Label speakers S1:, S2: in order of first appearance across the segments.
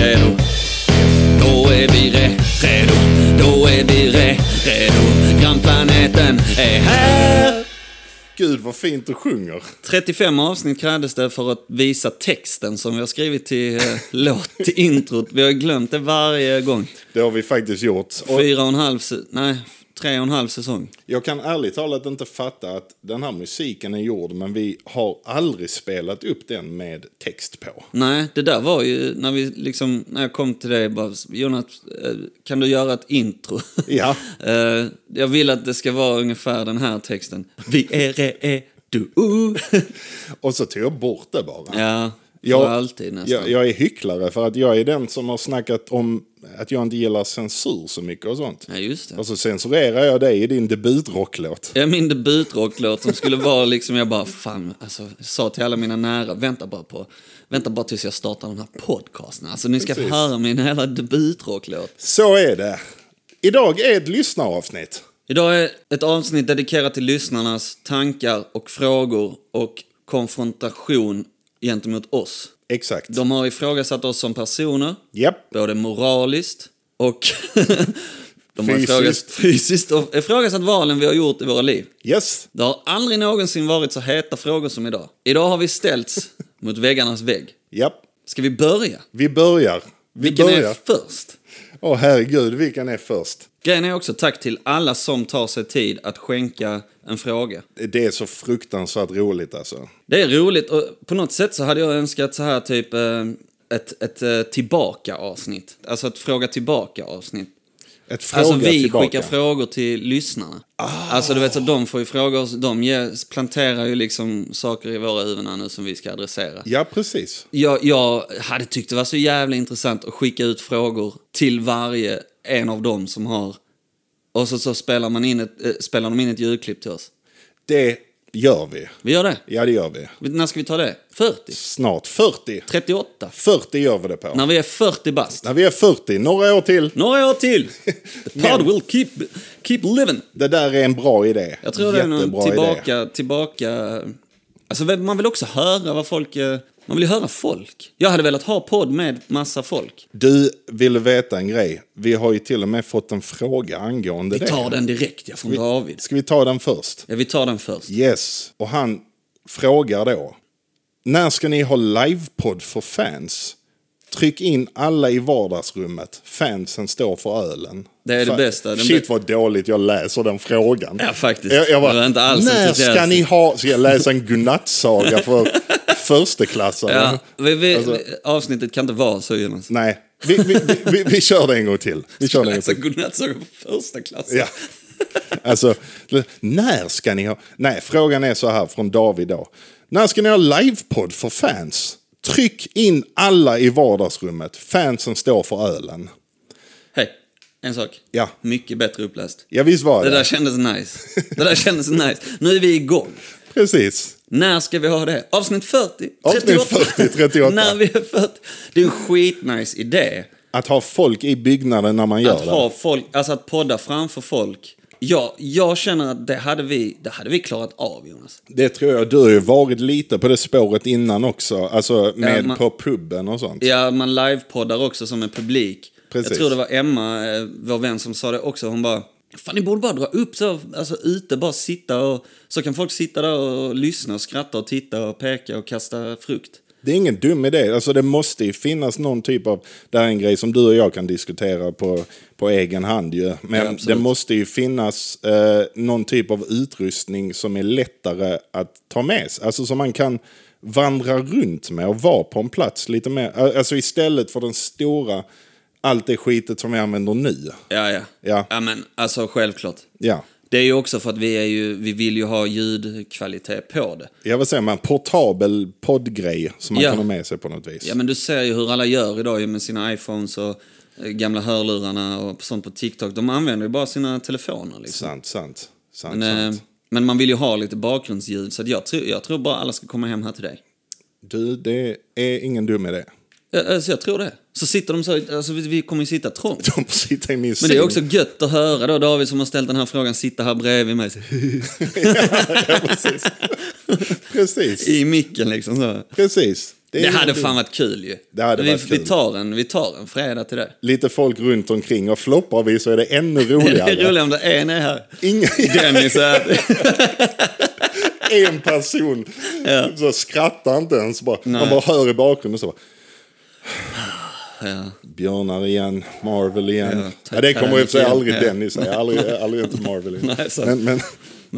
S1: redo. Då är vi re redo. Då är vi re redo. Grannplaneten är här.
S2: Gud vad fint du sjunger.
S1: 35 avsnitt krävdes det för att visa texten som vi har skrivit till eh, låt, till introt. Vi har glömt det varje gång.
S2: Det har vi faktiskt gjort. Och
S1: Fyra och en halv, se- nej, tre och en halv säsong.
S2: jag kan ärligt talat inte fatta att den här musiken är gjord men vi har aldrig spelat upp den med text på.
S1: Nej, det där var ju när vi liksom, när jag kom till dig bara, Jonas, eh, kan du göra ett intro?
S2: Ja.
S1: Eh, jag vill att det ska vara ungefär den här texten. Vi är, re, är, du, uh.
S2: Och så tog jag bort det bara.
S1: Ja, för
S2: Jag-
S1: alltid nästan.
S2: Jag, jag är hycklare för att jag är den som har snackat om att jag inte gillar censur så mycket och sånt.
S1: Ja, just det.
S2: Och så censurerar jag dig i din debutrocklåt.
S1: Ja, min debutrocklåt som skulle vara liksom, jag bara fan, alltså, jag sa till alla mina nära, vänta bara på, vänta bara tills jag startar den här podcasten. Alltså ni ska
S2: Precis.
S1: höra min hela debutrocklåt.
S2: Så är det. Idag är ett lyssnaravsnitt.
S1: Idag är ett avsnitt dedikerat till lyssnarnas tankar och frågor och konfrontation gentemot oss.
S2: Exakt.
S1: De har ifrågasatt oss som personer,
S2: Japp.
S1: både moraliskt och de har
S2: Fysiskt.
S1: ifrågasatt, fysiskt och ifrågasatt valen vi har gjort i våra liv.
S2: Yes.
S1: Det har aldrig någonsin varit så heta frågor som idag. Idag har vi ställts mot väggarnas vägg.
S2: Japp.
S1: Ska vi börja?
S2: Vi börjar. Vi
S1: Vilken är
S2: börjar.
S1: först?
S2: Åh herregud, vilken är först?
S1: Grejen är också tack till alla som tar sig tid att skänka en fråga.
S2: Det är så fruktansvärt roligt alltså.
S1: Det är roligt och på något sätt så hade jag önskat så här typ eh, ett, ett eh, tillbaka avsnitt. Alltså ett fråga tillbaka avsnitt.
S2: Ett fråga
S1: Alltså vi
S2: tillbaka.
S1: skickar frågor till lyssnarna. Alltså du vet så de får ju frågor, så de ger, planterar ju liksom saker i våra huvuden här nu som vi ska adressera.
S2: Ja, precis.
S1: Jag, jag hade tyckt det var så jävla intressant att skicka ut frågor till varje en av dem som har... Och så, så spelar, man in ett, eh, spelar de in ett ljudklipp till oss.
S2: Det gör vi.
S1: Vi gör det.
S2: Ja, det gör vi.
S1: När ska vi ta det? 40?
S2: Snart 40.
S1: 38?
S2: 40 gör vi det på.
S1: När vi är 40 bast?
S2: När vi är 40, några år till.
S1: Några år till! Pod will keep, keep living!
S2: Det där är en bra idé.
S1: Jag tror det är någon tillbaka, tillbaka... Alltså man vill också höra vad folk... eh, Man vill ju höra folk. Jag hade velat ha podd med massa folk.
S2: Du ville veta en grej. Vi har ju till och med fått en fråga angående
S1: Vi tar den direkt, ja, från David.
S2: Ska vi ta den först?
S1: Ja, vi tar den först.
S2: Yes. Och han frågar då. När ska ni ha livepodd för fans? Tryck in alla i vardagsrummet. Fansen står för ölen.
S1: Det är det
S2: Fa-
S1: bästa. Den
S2: Shit
S1: bä-
S2: vad dåligt jag läser den frågan.
S1: Ja, faktiskt.
S2: Jag, jag
S1: Det
S2: bara,
S1: var inte alls
S2: när
S1: entusiastiskt."
S2: ska ni ha... Ska jag läsa en godnattsaga för försteklassare?
S1: Ja, vi, vi,
S2: Alltså-
S1: vi- avsnittet kan inte vara så Jonas.
S2: Nej, vi, vi, vi, vi, vi kör det en gång till. Vi kör det en gång
S1: Alltså
S2: till.
S1: godnattsaga på första klass.
S2: Ja. Alltså, när ska ni ha... Nej, frågan är så här från David då. När ska ni ha livepodd för fans? Tryck in alla i vardagsrummet. Fansen står för ölen.
S1: Hej, en sak.
S2: Ja.
S1: Mycket bättre uppläst.
S2: Ja, visst var
S1: Det
S2: det?
S1: där kändes nice. Det där kändes nice. Nu är vi igång.
S2: Precis.
S1: När ska vi ha det? Avsnitt 40?
S2: Avsnitt 40, 38.
S1: när vi är 40. Det är en skitnice idé.
S2: Att ha folk i byggnaden när man gör
S1: Att
S2: det.
S1: ha folk, alltså att podda framför folk. Ja, jag känner att det hade vi, det hade vi klarat av Jonas.
S2: Det tror jag. Du har ju varit lite på det spåret innan också. Alltså med
S1: man-
S2: på puben och sånt.
S1: Ja, man livepoddar också som en publik. Jag
S2: Precis.
S1: tror det var Emma, eh, vår vän, som sa det också. Hon bara, fan ni borde bara dra upp så, alltså ute, bara sitta och, så kan folk sitta där och lyssna och skratta och titta och peka och kasta frukt.
S2: Det är ingen dum idé. Alltså det måste ju finnas någon typ av... Det här är en grej som du och jag kan diskutera på, på egen hand ju.
S1: Ja,
S2: Men
S1: absolut.
S2: det måste ju finnas eh, någon typ av utrustning som är lättare att ta med sig. Alltså som man kan vandra runt med och vara på en plats lite mer. Alltså istället för den stora, allt det skitet som vi använder nu.
S1: Ja, ja.
S2: Ja.
S1: ja men alltså självklart.
S2: Ja.
S1: Det är ju också för att vi, är ju, vi vill ju ha ljudkvalitet på det.
S2: Jag vill säga man, portabel poddgrej som man
S1: Ja.
S2: kan ha med sig på något vis.
S1: Ja, men du ser ju hur alla gör idag ju med sina iPhones och eh, gamla hörlurarna och sånt på TikTok. De använder ju bara sina telefoner. Liksom.
S2: Sant, sant, sant,
S1: Men, eh,
S2: sant.
S1: men man vill ju ha lite bakgrundsljud, så att jag, tror, jag tror bara alla ska komma hem här till dig.
S2: Du, det är ingen dum idé.
S1: Ja, Alltså, jag tror det. Så sitter de så, alltså, vi- vi kommer ju sitta trångt.
S2: De får sitta i min
S1: Men
S2: säng.
S1: det är också gött att höra då David som har ställt den här frågan sitta här bredvid mig. Så,
S2: Precis.
S1: I micken liksom så.
S2: Precis. Det, är
S1: Det
S2: ju
S1: hade
S2: dumt.
S1: fan varit kul ju.
S2: Det hade
S1: vi,
S2: varit
S1: Vi
S2: kul.
S1: tar, en, vi tar en fredag till det.
S2: Lite folk runt omkring och floppar vi så är det ännu
S1: Det är
S2: roligare.
S1: roligt om det är en är här.
S2: Inga,
S1: Dennis är...
S2: en person så skrattar inte ens. Bara, man bara hör i bakgrunden så. Bara,
S1: Ja.
S2: Björnar igen, Marvel igen.
S1: Ja,
S2: Ja, det kommer i och för sig
S1: Titanic
S2: aldrig
S1: igen, ja.
S2: Dennis säga. Aldrig, aldrig inte Marvel igen.
S1: Nej, sant.
S2: men, men,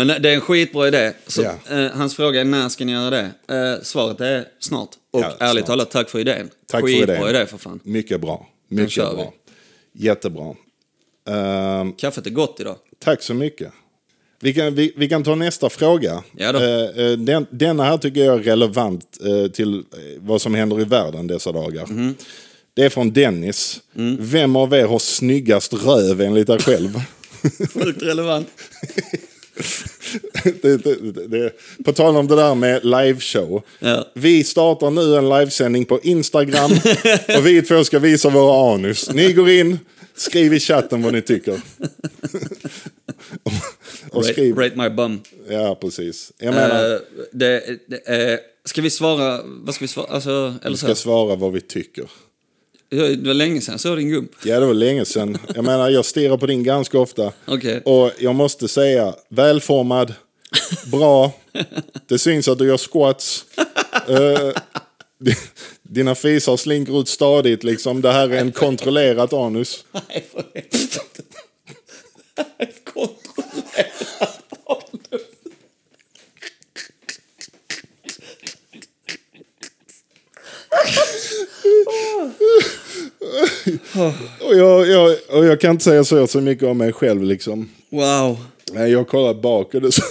S1: Men det är en skitbra idé. Så,
S2: Ja.
S1: eh, hans fråga är när ska ni göra det? Eh, svaret är snart. Och
S2: Ja,
S1: ärligt
S2: snart.
S1: talat, tack för idén.
S2: Tack för
S1: Skitbra
S2: idén.
S1: idé för fan.
S2: mycket bra.
S1: kör
S2: Mycket
S1: vi.
S2: bra. Jättebra. Ehm,
S1: Kaffet är gott idag.
S2: Tack så mycket. Vi kan, vi, vi kan ta nästa fråga.
S1: Ja då.
S2: Eh, eh, den, denna här tycker jag är relevant eh, till eh, vad som händer i världen dessa dagar.
S1: Mhm.
S2: Det är från Dennis.
S1: Mm.
S2: Vem av er har snyggast röv enligt er själv?
S1: Sjukt relevant.
S2: det, det, det, det. På tal om det där med liveshow.
S1: Ja.
S2: Vi startar nu en livesändning på Instagram och vi två ska visa våra anus. Ni går in, skriv i chatten vad ni tycker. och, och
S1: Rate,
S2: skriv.
S1: rate my bum.
S2: Ja, precis. Jag menar,
S1: Eh, det, det, eh, ska vi svara... Vad ska vi svara? Alltså, eller så
S2: vi ska
S1: här.
S2: svara vad vi tycker.
S1: Det var länge sedan jag såg din gump.
S2: Ja, det var länge sedan. Jag menar, jag stirrar på din ganska ofta.
S1: Okej.
S2: Och jag måste säga, välformad, bra, det syns att du gör squats. Eh, d- dina fisar slinker ut stadigt liksom. Det här är en kontrollerat anus.
S1: Nej, för helvete. Kontrollerad anus.
S2: Och jag, jag, och jag kan inte säga så, så mycket om mig själv liksom.
S1: Wow,
S2: Nej, Jag kollar bak och det är så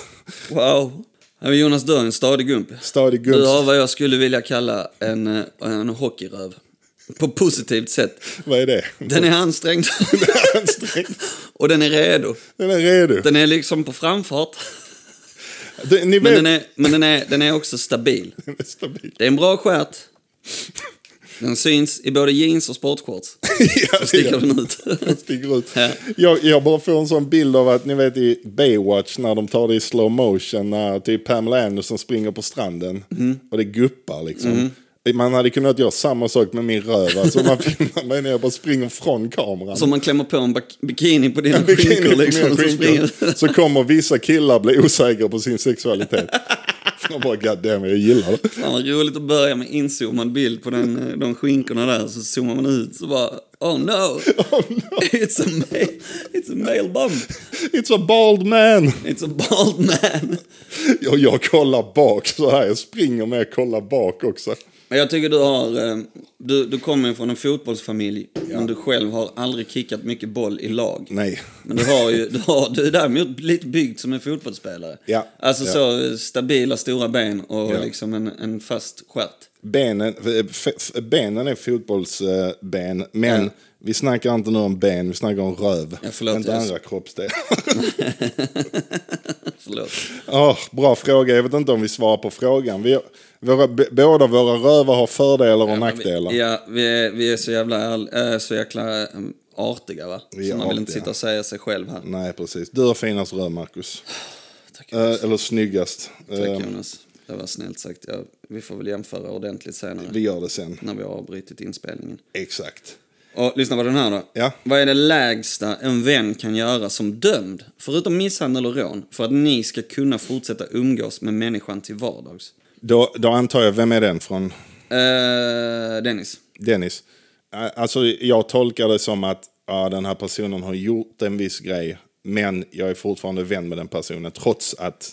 S1: wow. Ja, men Jonas, du har en stadig gump.
S2: stadig
S1: Du har
S2: gums.
S1: vad jag skulle vilja kalla en, eh, en hockeyröv. På positivt sätt.
S2: Vad är det?
S1: Den är ansträngd. Och den är redo.
S2: Den är redo.
S1: Den är liksom på framfart.
S2: Den, ni
S1: Men
S2: vet,
S1: den är, men den är, den är också stabil.
S2: den är stabil.
S1: Det är en bra stjärt. Den syns i både jeans och sportshorts.
S2: Ja, det
S1: Sticker
S2: gör
S1: den ut.
S2: den. Sticker ut.
S1: Ja.
S2: Jag, jag bara får en sån bild av att ni vet i Baywatch när de tar det i slow motion när typ Pamela Anderson springer på stranden och det guppar liksom. Man hade kunnat göra samma sak med min röv. Alltså man filmar mig när jag bara springer från kameran.
S1: Som man klämmer på en bak- bikini på dina
S2: Bikini på
S1: skinkor
S2: mina
S1: liksom. Så
S2: skinkor.
S1: springer.
S2: Så kommer vissa killar bli osäkra på sin sexualitet. De bara God damn, jag gillar det.
S1: Fan vad roligt att börja med inzoomad bild på den, eh, de skinkorna där. Så zoomar man ut så bara oh no. It's, a male, it's a male bum.
S2: It's a bald man!
S1: It's a bald man.
S2: Och jag kollar bak så här. Jag springer med jag kollar bak också.
S1: Men jag tycker du har, eh, du, du kommer ju från en fotbollsfamilj. Men du själv har aldrig kickat mycket boll i lag.
S2: Nej.
S1: Men du har ju, du, har, du är däremot lite byggd som en fotbollsspelare.
S2: Ja.
S1: Alltså
S2: Ja.
S1: så stabila stora ben och
S2: Ja.
S1: liksom en, en fast stjärt.
S2: Benen, eh, f- f- benen är fotbollsben, men
S1: Ja.
S2: vi snackar inte nu om ben, vi snackar om röv.
S1: Ja, förlåt,
S2: inte
S1: jag-
S2: andra kroppsdelar.
S1: Förlåt.
S2: Åh, bra fråga, jag vet inte om vi svarar på frågan. Vi, våra, b- båda våra rövar har fördelar och nackdelar.
S1: Vi, ja, vi är, vi är så jävla, ärl- äh, så jäkla ähm, artiga va? Så
S2: Vi är
S1: man vill inte
S2: artiga. Mm.
S1: sitta och säga sig själv här.
S2: Nej, precis. Du har finast röv, Marcus.
S1: Tack,
S2: Eh, eller snyggast. Eh,
S1: Tack Jonas. Det var snällt sagt. Ja, vi får väl jämföra ordentligt senare.
S2: vi gör det sen.
S1: När vi har avbrutit inspelningen.
S2: Exakt.
S1: Och lyssna på den här då.
S2: Ja.
S1: Vad är det lägsta en vän kan göra som dömd, förutom misshandel och rån, för att ni ska kunna fortsätta umgås med människan till vardags?
S2: Då, då antar jag, vem är den från?
S1: Eh, Dennis.
S2: Dennis. Eh, Alltså, jag tolkar det som att ja, den här personen har gjort en viss grej, men jag är fortfarande vän med den personen trots att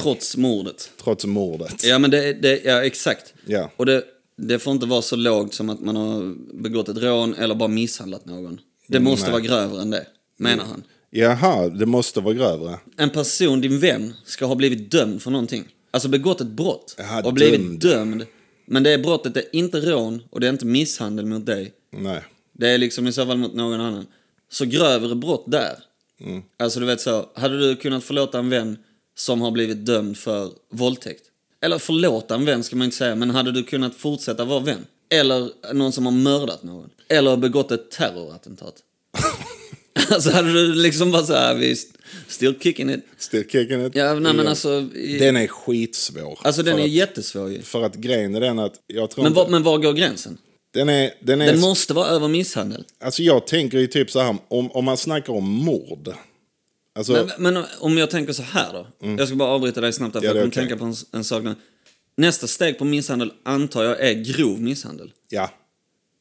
S1: Trots mordet.
S2: trots mordet.
S1: Ja, men det, det ja, exakt.
S2: Ja.
S1: Och det, det får inte vara så lågt som att man har begått ett rån eller bara misshandlat någon. Det måste
S2: nej.
S1: vara grövre än det, menar han.
S2: Jaha, det måste vara grövre.
S1: En person, din vän, ska ha blivit dömd för någonting. Alltså begått ett brott
S2: Jaha,
S1: och blivit
S2: dömd.
S1: dömd. Men det brottet är inte rån och det är inte misshandel mot dig.
S2: Nej.
S1: Det är liksom i så fall mot någon annan. Så grövre brott där. Alltså du vet så, hade du kunnat förlåta en vän som har blivit dömd för våldtäkt? Eller förlåta en vän ska man inte säga, men hade du kunnat fortsätta vara vän? Eller någon som har mördat någon? Eller begått ett terrorattentat? Alltså hade du liksom bara så här, vi st- still kicking it.
S2: Still kicking it.
S1: Ja, nej men alltså... I,
S2: Den är skitsvår.
S1: alltså den
S2: för
S1: är
S2: att,
S1: jättesvår ju.
S2: För att grejen är den att jag tror
S1: Men var,
S2: inte...
S1: men var går gränsen?
S2: Den är... Den är
S1: Den måste vara över misshandel.
S2: Alltså jag tänker ju typ så här, om, om man snackar om mord. Alltså,
S1: Men, men om jag tänker så här då. Jag ska bara avbryta dig snabbt där, för
S2: Mm. Ja,
S1: jag
S2: det är
S1: kommer
S2: okej.
S1: tänka på en, en sak nu. Nästa steg på misshandel antar jag är grov misshandel.
S2: ja.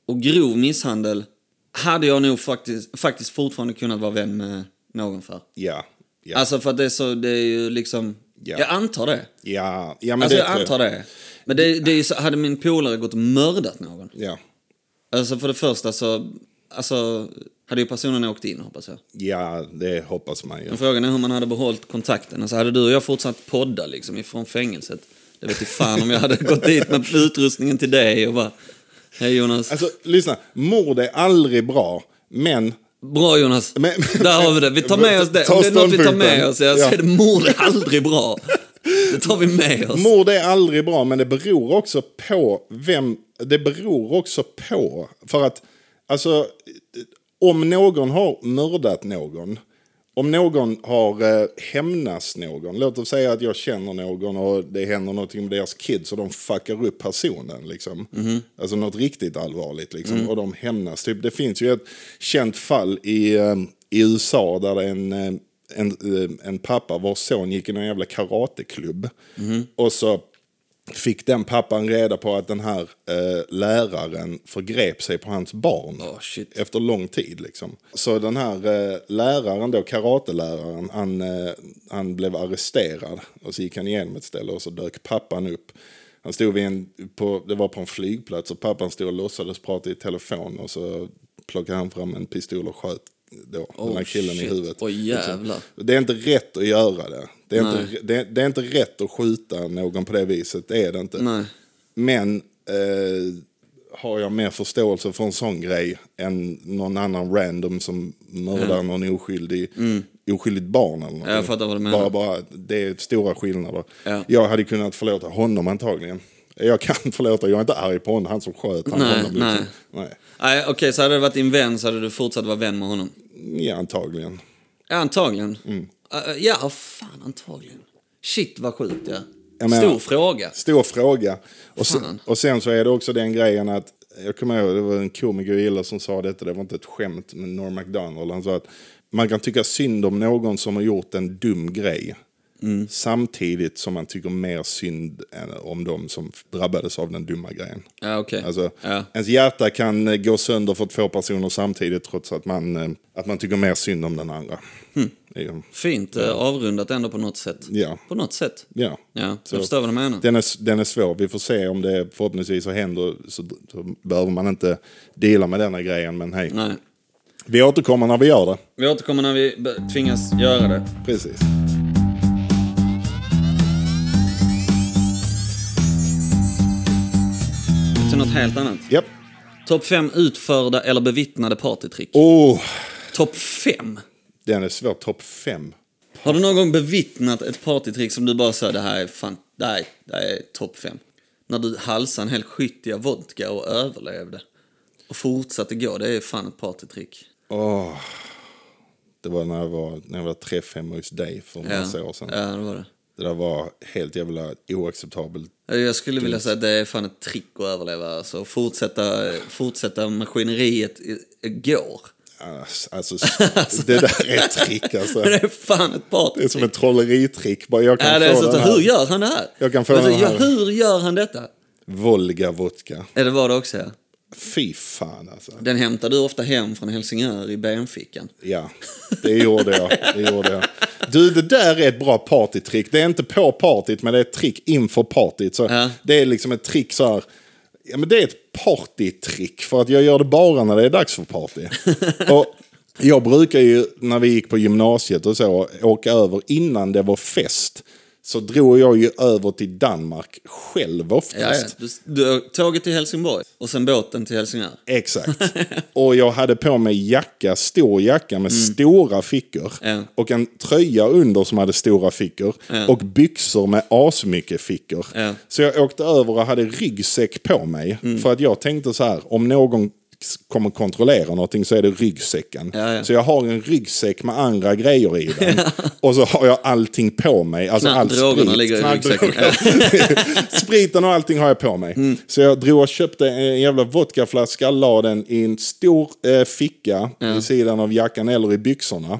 S1: Och grov misshandel hade jag nog faktiskt, faktiskt fortfarande kunnat vara vän med någon för.
S2: Ja. Ja.
S1: Alltså för att det är så, det är ju liksom...
S2: Ja.
S1: Jag antar det.
S2: ja, ja men
S1: alltså
S2: det
S1: jag
S2: tror
S1: antar det. Men det, det är ju så, hade min polare gått och mördat någon.
S2: Ja.
S1: Alltså för det första så, alltså hade ju personen åkt in hoppas jag.
S2: ja, det hoppas man ju.
S1: Men Frågan är hur man hade behållit kontakten. Alltså hade du och jag fortsatt podda liksom ifrån fängelset. Det vet inte fan om jag hade gått dit med utrustningen till dig och bara... Hej Jonas.
S2: Alltså, lyssna. Mord är aldrig bra, men...
S1: Bra Jonas.
S2: Men-
S1: Där har vi det. Vi tar med oss det.
S2: Ta
S1: Om det är något vi tar med
S2: ståndpunkten.
S1: oss ja, så
S2: Ja.
S1: är det mord är aldrig bra. Det tar vi med oss.
S2: Mord är aldrig bra, men det beror också på vem... Det beror också på... För att, alltså... Om någon har mördat någon, om någon har eh, hämnas någon, låt oss säga att jag känner någon och det händer någonting med deras kids och de fuckar upp personen. Liksom. Alltså något riktigt allvarligt liksom, och de hämnas. Typ, det finns ju ett känt fall i, eh, i USA där det är en, eh, en, eh, en pappa vars son gick i någon jävla karateklubb. Och så fick den pappan reda på att den här eh, läraren förgrep sig på hans barn
S1: Åh, shit.
S2: efter lång tid. Liksom. Så den här eh, läraren, då, karateläraren, han, eh, han blev arresterad. Och så gick han igenom ett ställe och så dök pappan upp. Han stod vid en, på, det var på en flygplats och pappan stod och låtsades prata i telefon. Och så plockade han fram en pistol och sköt då, den här killen
S1: Oh,
S2: i
S1: shit.
S2: huvudet. liksom.
S1: Åh, jävlar.
S2: Det är inte rätt att göra det. Det är,
S1: Nej.
S2: inte, det, det är inte rätt att skjuta någon på det viset, det är det inte.
S1: Nej.
S2: Men eh, har jag mer förståelse för en sån grej än någon annan random som mördar någon oskyldig, oskyldigt barn eller någonting.
S1: Mm. jag fattar vad du menar.
S2: Bara, bara, det är stora skillnader.
S1: Ja.
S2: Jag hade kunnat förlåta honom antagligen. Jag kan förlåta, jag är inte arg på honom, han som sköt han
S1: Nej,
S2: honom. Liksom. Nej.
S1: Nej, okej, så hade det varit din vän så hade du fortsatt vara vän med honom.
S2: Ja, antagligen.
S1: Ja, antagligen.
S2: Mm.
S1: Eh, ja, fan antagligen. Shit vad sjukt ja.
S2: Jag menar-
S1: Stor fråga.
S2: Stor fråga. Och, se,
S1: Fan.
S2: och sen så är det också den grejen att, jag kommer ihåg, det var en komiker jag gillade som sa detta, det var inte ett skämt med Norm MacDonald. Han sa att man kan tycka synd om någon som har gjort en dum grej.
S1: Mm.
S2: Samtidigt som man tycker mer synd än om de som drabbades av den dumma grejen.
S1: Ja, okej.
S2: Alltså,
S1: Ja.
S2: Ens hjärta kan eh, gå sönder för två personer samtidigt trots att man, eh, att man tycker mer synd om den andra.
S1: Hm.
S2: Det är ju-
S1: Fint eh, avrundat ändå på något sätt.
S2: Ja.
S1: På något sätt.
S2: Ja.
S1: Ja,
S2: Så-
S1: jag förstår vad du menar.
S2: Den är, den är svår. Vi får se om det förhoppningsvis så händer. Så, så behöver man inte dela med denna grejen. Men hej.
S1: Nej.
S2: Vi återkommer när vi gör det.
S1: Vi återkommer när vi be- tvingas göra det.
S2: Precis.
S1: Till något helt annat.
S2: Japp.
S1: Topp 5 utförda eller bevittnade partytrick.
S2: Oh,
S1: Topp 5?
S2: den är svår. Topp fem.
S1: Har du någon gång bevittnat ett partytrick som du bara sa det här är fan, det här, är- det här är topp 5? När du halsade en hel skyttiga vodka och överlevde. Och fortsatte gå, det är fan ett partytrick.
S2: Åh. Det var när jag var, när jag var träff hemma hos dig för en massa år sedan.
S1: ja, det var det.
S2: Det där var helt jävla oacceptabelt.
S1: Jag skulle vilja säga att det är fan ett trick att överleva. Alltså, fortsätta, fortsätta maskineriet i- går.
S2: Alltså, alltså, det där är ett trick alltså.
S1: Det är fan ett
S2: Det är som
S1: partytrick.
S2: ett trolleritrick. Bara jag kan
S1: Ja, det är
S2: få
S1: så,
S2: den
S1: så,
S2: här.
S1: hur gör han det här?
S2: Jag kan få
S1: Alltså,
S2: den
S1: ja,
S2: här.
S1: Hur gör han detta?
S2: Volga vodka.
S1: Ja, det var det också. ja.
S2: Fy fan alltså.
S1: Den hämtar du ofta hem från Helsingör i benfickan.
S2: Ja, det gjorde jag. Det gjorde jag. Du, det där är ett bra partytrick. Det är inte på partyt, men det är ett trick inför partyt. Så
S1: Ja.
S2: Det är liksom ett trick så här. Ja, men det är ett partytrick, för att jag gör det bara när det är dags för party. och jag brukar ju, när vi gick på gymnasiet och så, åka över innan det var fest. Så drog jag ju över till Danmark själv oftast.
S1: Ja, ja. Du, du, tåget till Helsingborg och sen båten till Helsingör.
S2: Exakt. Och jag hade på mig jacka, stor jacka med stora fickor.
S1: Mm. Ja.
S2: Och en tröja under som hade stora fickor. Och byxor med asmycket fickor.
S1: Ja. Mm.
S2: Så jag åkte över och hade ryggsäck på mig. För att jag tänkte så här, om någon kommer kontrollera någonting så är det ryggsäcken.
S1: Ja, ja.
S2: Så jag har en ryggsäck med andra grejer i den. och så har jag allting på mig. Alltså
S1: Knappt
S2: all
S1: drogerna
S2: sprit.
S1: ligger i
S2: Knappt
S1: ryggsäcken.
S2: drogerna. Spriten och allting har jag på mig.
S1: Mm.
S2: Så jag drog och köpte en jävla vodkaflaska, la den i en stor eh, ficka i sidan av jackan eller i byxorna.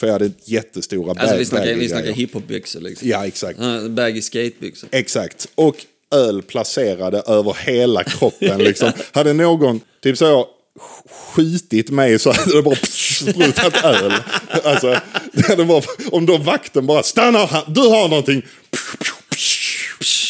S2: För jag hade jättestora bag,
S1: Mm. Alltså vi snackar, vi
S2: baggy
S1: snackar
S2: grejer.
S1: hiphopbyxor liksom.
S2: Ja, exakt.
S1: Ja. Baggy skatebyxor.
S2: Exakt. Och öl placerade över hela kroppen. Liksom. Hade någon typ så skitit mig så hade det bara sprutat öl. Alltså, det hade bara, om då vakten bara stannar, här, du har någonting. Ja.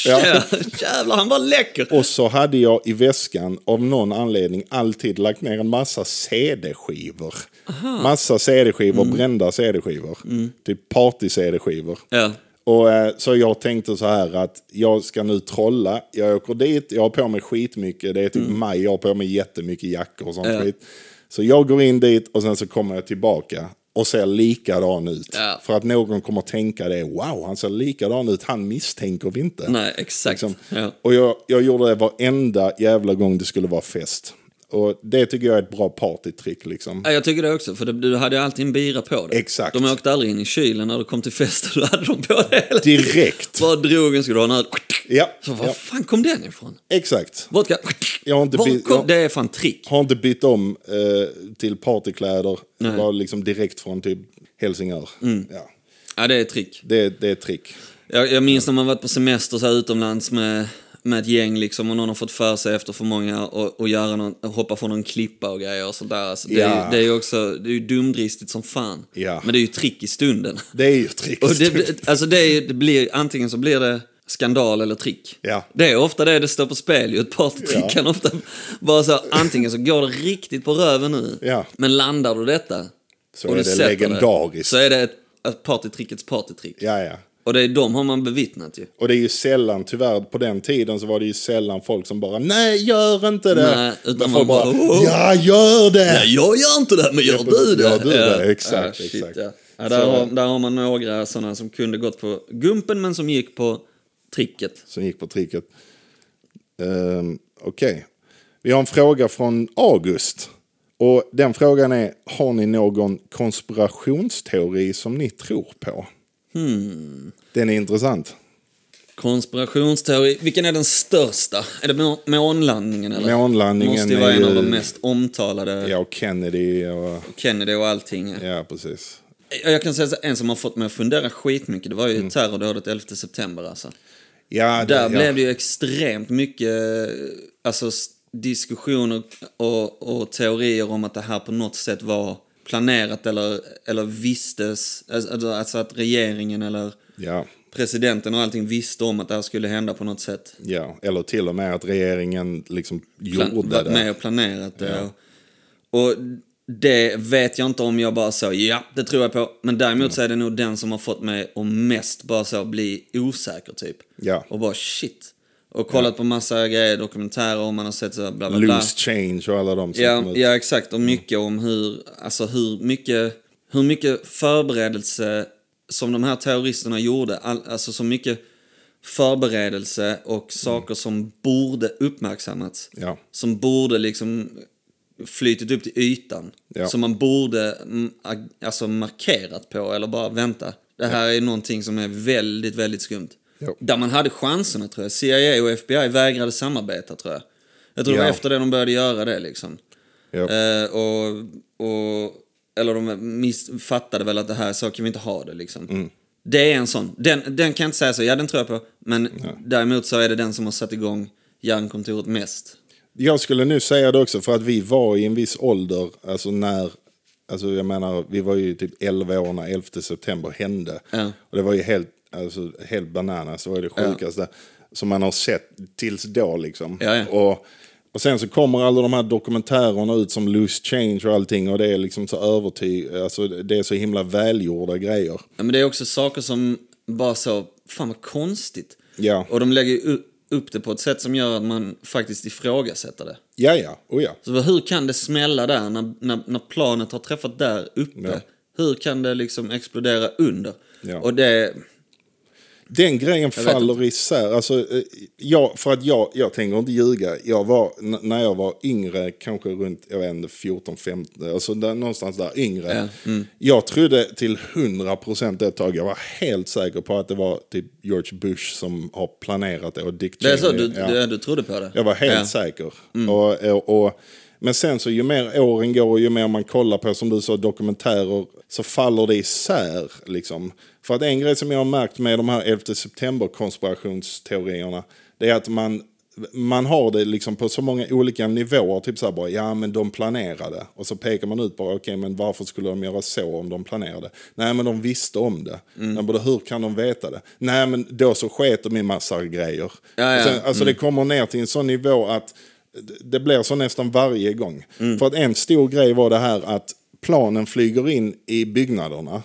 S1: Ja. Jävlar, han var läcker!
S2: Och så hade jag i väskan av någon anledning alltid lagt ner en massa CD-skivor. Massa CD-skivor,
S1: Mm.
S2: brända CD-skivor. Typ party-CD-skivor.
S1: Ja.
S2: Och, eh, så jag tänkte så här att jag ska nu trolla. Jag åker dit, jag har på mig skitmycket. Det är typ maj, jag har på mig jättemycket jackor och sånt
S1: Mm. Ja.
S2: skit. Så jag går in dit och sen så kommer jag tillbaka och ser likadan ut.
S1: Ja.
S2: För att någon kommer tänka det, wow, han ser likadan ut, han misstänker vi inte.
S1: Nej, exakt.
S2: Liksom.
S1: Ja.
S2: Och jag, jag gjorde det varenda jävla gång det skulle vara fest. Och det tycker jag är ett bra partytrick liksom.
S1: Ja, jag tycker det också, för det, du hade ju alltid en bira på dig.
S2: Exakt.
S1: De åkte aldrig in i kylen när du kom till festen, då hade de på dig hela tiden.
S2: Direkt.
S1: Bara drog en, skulle du ha en öl.
S2: Ja,
S1: Så var
S2: ja.
S1: fan kom den ifrån?
S2: exakt.
S1: Vodka?
S2: Jag har inte
S1: Var
S2: bi-
S1: kom,
S2: jag-
S1: Det är fan trick.
S2: Har inte bytt om eh, till partykläder. Det var liksom direkt från typ Helsingör.
S1: Mm.
S2: Ja.
S1: Ja, det är trick.
S2: Det, det är ett trick.
S1: Jag, jag minns när man varit på semester så här utomlands med, med ett gäng liksom och någon har fått för sig efter för många och, och göra någon, hoppa från någon klippa och grejer och sådär. Så det, är
S2: Ja.
S1: ju- det är ju också, det är ju dumdristigt som fan.
S2: Ja.
S1: Men det är ju trick i stunden.
S2: Det är ju ett trick.
S1: Och det, det- alltså det, är ju- det blir, antingen så blir det skandal eller trick.
S2: Ja.
S1: Det är ofta det det står på spel ju. Ett partytrick
S2: Ja.
S1: kan ofta vara så, antingen så går det riktigt på röven nu,
S2: Ja.
S1: men landar du detta
S2: Så
S1: och
S2: är
S1: du
S2: det
S1: sätter
S2: legendariskt.
S1: så är det ett, ett partytrickets partytrick.
S2: Ja, ja.
S1: Och det är de har man bevittnat ju.
S2: Och det är ju sällan, tyvärr, på den tiden så var det ju sällan folk som bara nej, gör inte det.
S1: Nej, utan
S2: Men
S1: man
S2: folk bara,
S1: bara, "Oh, oh."
S2: ja, gör det.
S1: Ja, jag gör inte det, men gör du
S2: precis.
S1: det?
S2: Gör du det? Exakt,
S1: Ah, shit,
S2: exakt.
S1: Ja. Ja, där,
S2: Så-
S1: har, där har man några sådana som kunde gått på gumpen, men som gick på tricket.
S2: som gick på tricket. Ehm, Okej. Vi har en fråga från August. Och den frågan är, har ni någon konspirationsteori som ni tror på?
S1: Hmm.
S2: Den är intressant.
S1: Konspirationsteori. Vilken är den största? Är det må- månlandningen? Eller?
S2: Månlandningen
S1: Måste ju vara
S2: är
S1: en av de
S2: ju-
S1: mest omtalade.
S2: Ja, och Kennedy och...
S1: Kennedy och allting.
S2: Ja, precis.
S1: Jag jag kan säga så, här, en som har fått mig att fundera skitmycket, det var ju
S2: Mm.
S1: terrordådet 11 september alltså.
S2: Ja, det,
S1: Där
S2: ja.
S1: blev det ju extremt mycket alltså, s- diskussioner och, och teorier om att det här på något sätt var planerat eller, eller vistes. Alltså, alltså att regeringen eller
S2: Ja,
S1: presidenten och allting visste om att det här skulle hända på något sätt.
S2: ja, eller till och med att regeringen liksom
S1: Plan-
S2: gjorde
S1: varit med
S2: det.
S1: och planerat det. Och, och det vet jag inte om jag bara så, ja, det tror jag på. Men däremot så är det nog den som har fått mig att mest bara så bli osäker typ.
S2: Ja.
S1: Och bara shit. Och kollat på massa grejer, dokumentärer och man har sett så här, bla bla bla.
S2: Loose change och alla de som kom
S1: Ja,
S2: ut.
S1: ja, exakt. Och mycket om hur, alltså hur mycket, hur mycket förberedelse som de här terroristerna gjorde. All, alltså så mycket förberedelse och
S2: Mm.
S1: saker som borde uppmärksammats.
S2: Ja.
S1: Som borde liksom flytit upp till ytan.
S2: Ja.
S1: Som man borde mm, ag- alltså markerat på eller bara vänta. Det här är någonting som är väldigt, väldigt skumt.
S2: Ja.
S1: Där man hade chanserna tror jag. CIA och FBI vägrade samarbeta tror jag. Jag tror det var
S2: Ja.
S1: efter det de började göra det liksom.
S2: Ja.
S1: Eh, och, och, eller de misfattade väl att det här, så kan vi inte ha det liksom.
S2: Mm.
S1: Det är en sån. Den, den kan jag inte säga så, ja den tror jag på. Men däremot så är det den som har satt igång järnkontoret mest.
S2: Jag skulle nu säga det också för att vi var i en viss ålder, alltså när, alltså jag menar, vi var ju typ 11 år när 11 september hände.
S1: Ja.
S2: Och det var ju helt, alltså helt bananas, det var ju det sjukaste som man har sett tills då liksom.
S1: Ja, ja.
S2: Och, och sen så kommer alla de här dokumentärerna ut som Loose Change och allting och det är liksom så övertyg, alltså det är så himla välgjorda grejer.
S1: Ja, men det är också saker som bara så, fan vad konstigt.
S2: Ja.
S1: Och de lägger ju u- upp det på ett sätt som gör att man faktiskt ifrågasätter det.
S2: Ja, ja, oh ja.
S1: Så hur kan det smälla där när, när, när planet har träffat där uppe?
S2: Ja.
S1: Hur kan det liksom explodera under?
S2: Ja.
S1: Och det...
S2: Den grejen
S1: vet
S2: faller isär. Alltså, eh, jag, för att jag, jag tänker inte ljuga. Jag var, n- när jag var yngre, kanske runt jag vet inte, 14, 15, alltså där, någonstans där yngre.
S1: Ja, mm.
S2: Jag trodde till 100% ett tag, jag var helt säker på att det var typ George Bush som har planerat det och Dick
S1: Det är så, du,
S2: ja.
S1: du, du trodde på det?
S2: Jag var helt
S1: ja. Mm.
S2: säker. Och, och, och, men sen så ju mer åren går och ju mer man kollar på, som du sa, dokumentärer, så faller det isär. Liksom. För att en grej som jag har märkt med de här 11 september-konspirationsteorierna, det är att man, man har det liksom på så många olika nivåer. Typ så här bara, ja men de planerade. Och så pekar man ut bara, okej men varför skulle de göra så om de planerade? Nej men de visste om det. Mm. Bara, hur kan de veta det? Nej men då så sket de i massa grejer.
S1: Ja, ja.
S2: Och Sen, Alltså
S1: Mm.
S2: det kommer ner till en sån nivå att det blir så nästan varje gång.
S1: Mm.
S2: För att en stor grej var det här att planen flyger in i byggnaderna.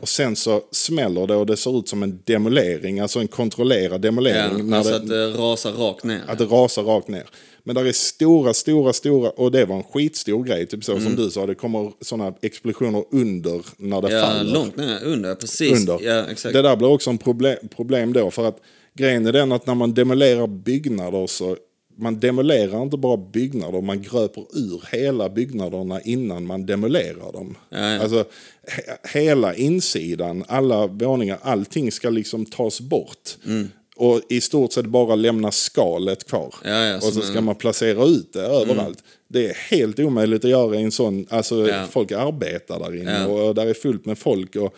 S2: Och sen så smäller det och det ser ut som en demolering, alltså en kontrollerad
S1: Ja,
S2: demolering. när
S1: alltså
S2: det,
S1: att det rasar rakt ner.
S2: att det rasar rakt ner. Men där är stora, stora, stora, och det var en skitstor grej, typ så
S1: Mm.
S2: som du sa, det kommer sådana explosioner under när det
S1: ja,
S2: faller
S1: långt ner, under, precis.
S2: under.
S1: Ja, exakt.
S2: Det där blir också en problem, problem då för att grejen är den att när man demolerar byggnader så man demolerar inte bara byggnader, man gröper ur hela byggnaderna innan man demolerar dem.
S1: ja.
S2: Alltså he- hela insidan, alla våningar, allting ska liksom tas bort.
S1: Mm.
S2: Och i stort sett bara lämna skalet kvar.
S1: Ja, ja,
S2: och så
S1: som
S2: ska man placera ut det
S1: Mm.
S2: överallt. Det är helt omöjligt att göra i en sån, alltså
S1: Ja.
S2: folk arbetar där inne
S1: Ja.
S2: och där är fullt med folk. Och,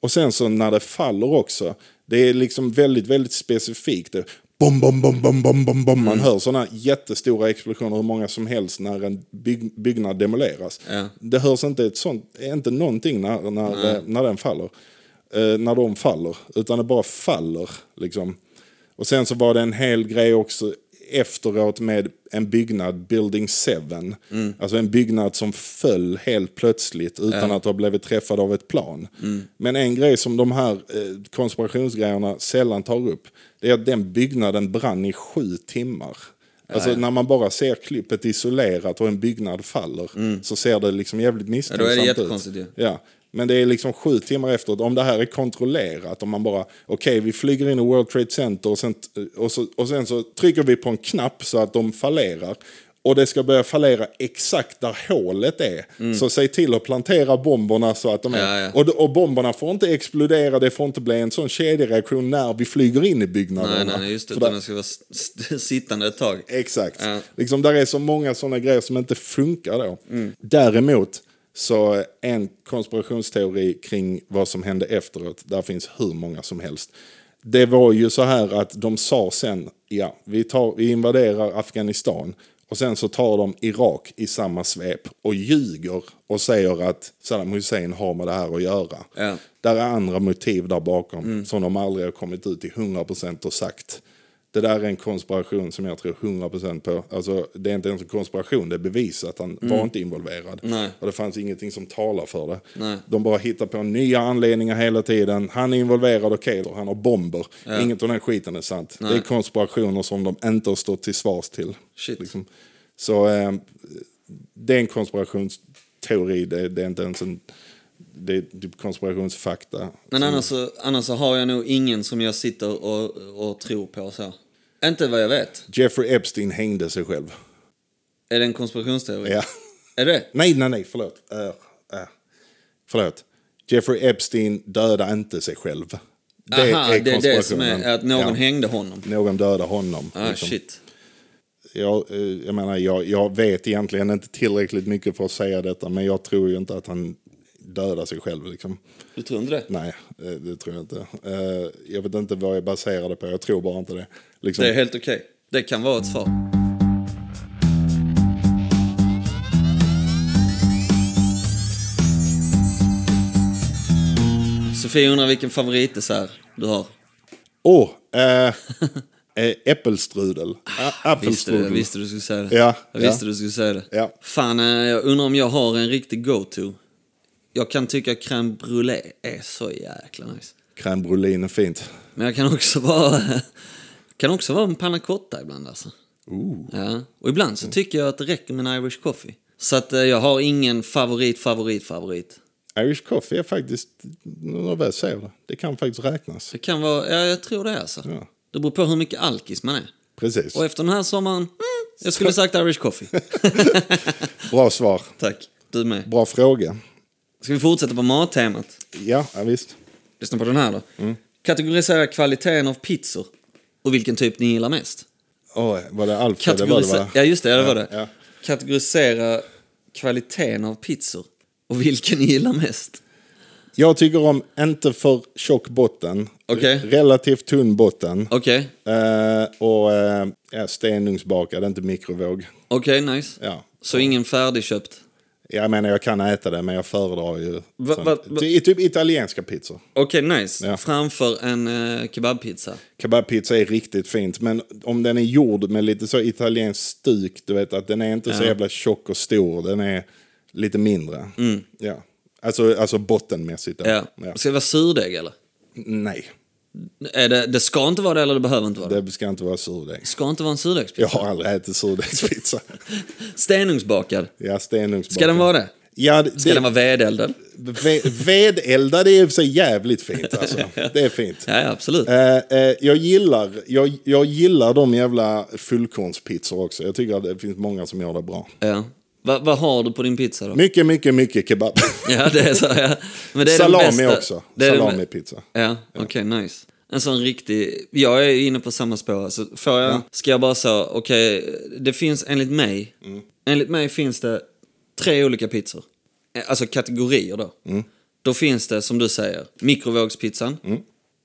S2: och sen så när det faller också, det är liksom väldigt, väldigt specifikt. Det, bom, bom, bom, bom, bom, bom, bom.
S1: Mm.
S2: Man hör sådana jättestora explosioner, hur många som helst, när en bygg, byggnad demoleras.
S1: Ja.
S2: Det hörs inte, ett sånt, inte någonting när, när, eh, när den faller. Eh, när de faller, utan det bara faller. Liksom. Och sen så var det en hel grej också efteråt med en byggnad, Building 7.
S1: Mm.
S2: Alltså en byggnad som föll helt plötsligt utan att ha blivit träffad av ett plan.
S1: Mm.
S2: Men en grej som de här eh, konspirationsgrejerna sällan tar upp, det är att den byggnaden brann i sju timmar. Alltså när man bara ser klippet isolerat och en byggnad faller så ser det liksom jävligt
S1: Mm. Ja, då är det
S2: misstänksamt
S1: jättekonstigt ju.
S2: ut. Ja, men det är liksom sju timmar efteråt. Om det här är kontrollerat, om man bara, okej vi flyger in i World Trade Center och sen, och, så, och sen så trycker vi på en knapp så att de fallerar. Och det ska börja fallera exakt där hålet är. Så säg till att plantera bomberna så att de är...
S1: Mm. Ja, ja.
S2: Och, och bomberna får inte explodera, det får inte bli en sån kedjereaktion när vi flyger in i byggnaderna.
S1: nej, nej, just det.
S2: För
S1: Utan
S2: där-
S1: den ska vara s- s- sittande ett tag.
S2: Exakt.
S1: Ja.
S2: Liksom, där är så många sådana grejer som inte funkar då. Däremot så en konspirationsteori kring vad som hände efteråt, där finns hur många som helst. Det var ju så här att de sa sen, ja, vi, tar, vi invaderar Afghanistan och sen så tar de Irak i samma svep och ljuger och säger att Saddam Hussein har med det här att göra.
S1: Ja.
S2: Där är andra motiv där bakom
S1: Mm.
S2: som de aldrig har kommit ut till 100% och sagt. Det där är en konspiration som jag tror 100% på. Alltså, det är inte ens en konspiration, det är bevisat. att Han var inte involverad.
S1: Mm. Nej.
S2: Och det fanns ingenting som talar för det.
S1: Nej.
S2: De bara hittar på nya anledningar hela tiden. Han är involverad, okej, och han har bomber. Inget av den skiten är sant. Det är konspirationer som de inte har stått till svars till.
S1: Shit.
S2: Liksom. Så eh, det är en konspirationsteori, det, det är inte ens en... Det är typ konspirationsfakta.
S1: Men annars så, annars så har jag nog ingen som jag sitter och, och tror på så. Inte vad jag vet.
S2: Jeffrey Epstein hängde sig själv.
S1: Är det en konspirationsteori?
S2: Ja.
S1: Är det?
S2: Nej, nej, nej, förlåt. Uh, uh. Förlåt. Jeffrey Epstein dödade inte sig själv. Det
S1: Aha,
S2: är
S1: det är det som
S2: konspirationen.
S1: är att någon
S2: ja.
S1: hängde honom.
S2: Någon dödade honom.
S1: Ah,
S2: liksom.
S1: shit.
S2: jag, eh, jag menar, jag, jag vet egentligen inte tillräckligt mycket för att säga detta, men jag tror ju inte att han dödade sig själv. Liksom.
S1: Du tror inte det?
S2: Nej, eh, det tror jag inte. Eh, Jag vet inte vad jag baserar det på, jag tror bara inte det. Liksom.
S1: Det är helt okej. Det kan vara ett svar. Sofie undrar vilken favoritdessert du har.
S2: Åh! eh, eh, äppelstrudel. A-
S1: Visste du, jag
S2: Apfelstrudel.
S1: visste du skulle säga det.
S2: Ja,
S1: jag visste
S2: ja.
S1: du skulle säga det.
S2: Ja.
S1: Fan, eh, jag undrar om jag har en riktig go-to. Jag kan tycka crème brûlée är så jäkla nice.
S2: Crème brûlée är fint.
S1: Men jag kan också vara, kan också vara en panna cotta ibland alltså.
S2: Ooh.
S1: Ja. Och ibland så tycker jag att det räcker med en Irish coffee. Så att eh, jag har ingen favorit, favorit, favorit.
S2: Irish coffee är faktiskt, när jag väl säger det, det kan faktiskt räknas.
S1: Det kan vara, ja, jag tror det är alltså.
S2: Ja.
S1: Det beror på hur mycket alkis man är.
S2: Precis.
S1: Och efter den här sommaren, mm, jag skulle sagt Irish coffee.
S2: Bra svar.
S1: Tack, du med.
S2: Bra fråga.
S1: Ska vi fortsätta på mattemat?
S2: Ja, ja visst.
S1: Lyssna på den här då.
S2: Mm.
S1: Kategorisera kvaliteten av pizzor och vilken typ ni gillar mest.
S2: Åh, var det Alfred? Det var det,
S1: Kategorisera...
S2: va?
S1: Ja, just det, ja, det var det.
S2: ja.
S1: Kategorisera kvaliteten av pizzor och vilken ni gillar mest.
S2: Jag tycker om inte för tjock botten,
S1: Okej.
S2: relativt tunn botten
S1: Okej,
S2: eh, och eh, ja, stenugnsbakad, inte mikrovåg.
S1: okej, nice.
S2: Ja.
S1: Så ingen färdigköpt?
S2: Jag menar, jag kan äta det, men jag föredrar ju
S1: Va-
S2: sånt.
S1: va- va-
S2: Ty- typ italienska pizzor.
S1: Okej, nice.
S2: Ja.
S1: Framför en eh, kebabpizza.
S2: Kebabpizza är riktigt fint, men om den är gjord med lite så italienskt stuk, du vet att den är inte så jävla tjock och stor, den är lite mindre. Ja. Alltså, alltså bottenmässigt. då.
S1: Mm. Ja.
S2: Ja.
S1: Ska det vara surdeg eller?
S2: Nej,
S1: Är det, det ska inte vara det eller det behöver inte vara det.
S2: det ska inte vara surdeg.
S1: Det ska inte vara en surdegspizza.
S2: Jag har aldrig ätit surdegspizza.
S1: Stenugnsbakad.
S2: ja, stenugnsbakad.
S1: Ska den vara det?
S2: Ja,
S1: Ska
S2: det,
S1: den vara vedeldad?
S2: ve- vedeldad är i och för sig jävligt fint alltså. Det är fint.
S1: Ja, ja, absolut.
S2: Eh, eh, jag, gillar, jag, jag gillar de jävla fullkornspizzor också. Jag tycker att det finns många som gör det bra.
S1: Ja. Va, vad har du på din pizza då?
S2: Mycket, mycket, mycket kebab.
S1: Ja, det är så. Ja. Men det är den
S2: Salami
S1: bästa.
S2: också.
S1: Det är den bä-
S2: Salamipizza.
S1: Ja, okej, nice. En sån riktig... Jag är inne på samma spår. Alltså, får jag, Ska jag bara säga, okej, det finns enligt mig...
S2: Mm.
S1: Enligt mig finns det tre olika pizzor. Eh, Alltså kategorier då.
S2: Mm.
S1: Då finns det, som du säger, mikrovågspizzan.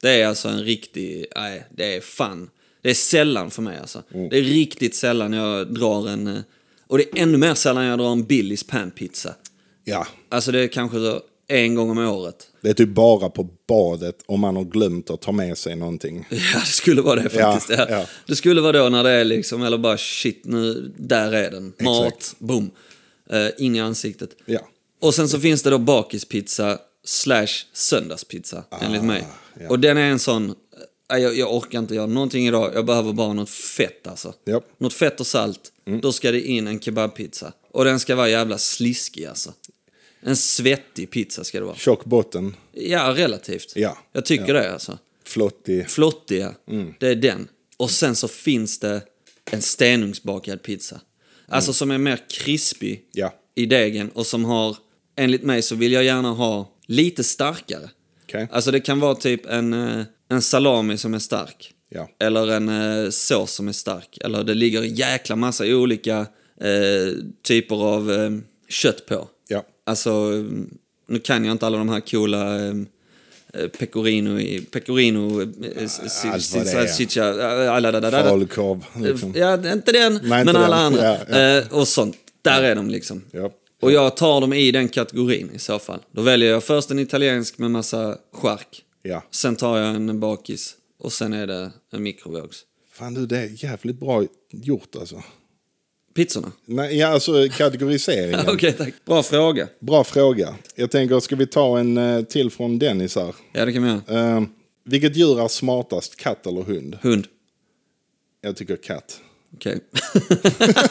S1: Det är alltså en riktig... Nej, det är fan. Det är sällan för mig alltså.
S2: Mm.
S1: Det är riktigt sällan jag drar en... eh, Och det är ännu mer sällan jag drar en Billys panpizza.
S2: Ja,
S1: Alltså det är kanske så en gång om året.
S2: det är typ bara på badet om man har glömt att ta med sig någonting.
S1: Ja, det skulle vara det faktiskt. Ja,
S2: Ja, ja.
S1: Det skulle vara då när det är liksom, eller bara shit, nu, där är den. Mat, boom. Uh, inga ansiktet.
S2: Ja.
S1: Och sen så finns det då bakispizza slash söndagspizza, enligt mig.
S2: Ah, ja.
S1: Och den är en sån, eh, jag, jag orkar inte göra någonting idag, jag behöver bara något fett alltså.
S2: Japp. Mm.
S1: Något fett och salt, då ska det in en kebabpizza. Och den ska vara jävla sliskig alltså. En svettig pizza ska det vara.
S2: Tjock botten,
S1: Ja, relativt.
S2: Ja. Mm.
S1: Jag tycker det alltså
S2: flottig.
S1: flottiga. Det är den. Och sen så finns det en stenugnsbakad pizza. Alltså som är mer krispig
S2: Mm. Ja.
S1: i degen och som har, enligt mig så vill jag gärna ha lite starkare.
S2: Okej.
S1: Alltså det kan vara typ en, eh, en salami som är stark.
S2: Ja.
S1: Eller en eh, sås som är stark. Eller det ligger en jäkla massa olika eh, typer av eh, kött på.
S2: Ja.
S1: Alltså, mm, nu kan jag inte alla de här coola eh, eh, pecorino, i- pecorino, eh, s- s-
S2: vad
S1: s-
S2: det är.
S1: salsiccia, eh, alla där, där, där.
S2: Falukorv. Liksom.
S1: Eh, Ja, inte den, men
S2: inte
S1: alla
S2: den.
S1: andra.
S2: Ja, ja.
S1: Eh, Och sånt. Där är de liksom.
S2: Ja.
S1: Och jag tar dem i den kategorin i så fall. Då väljer jag först en italiensk med massa chark.
S2: Ja.
S1: Sen tar jag en bakis och sen är det en mikrovågs.
S2: Fan du, det är jävligt bra gjort alltså.
S1: Pizzorna?
S2: Nej, ja, alltså kategoriseringen.
S1: Okej, tack. Bra fråga.
S2: Bra fråga. Jag tänker, ska vi ta en eh, till från Dennis här?
S1: Ja, det kan vi göra.
S2: Eh, vilket djur är smartast, katt eller hund?
S1: Hund.
S2: Jag tycker katt.
S1: Okej.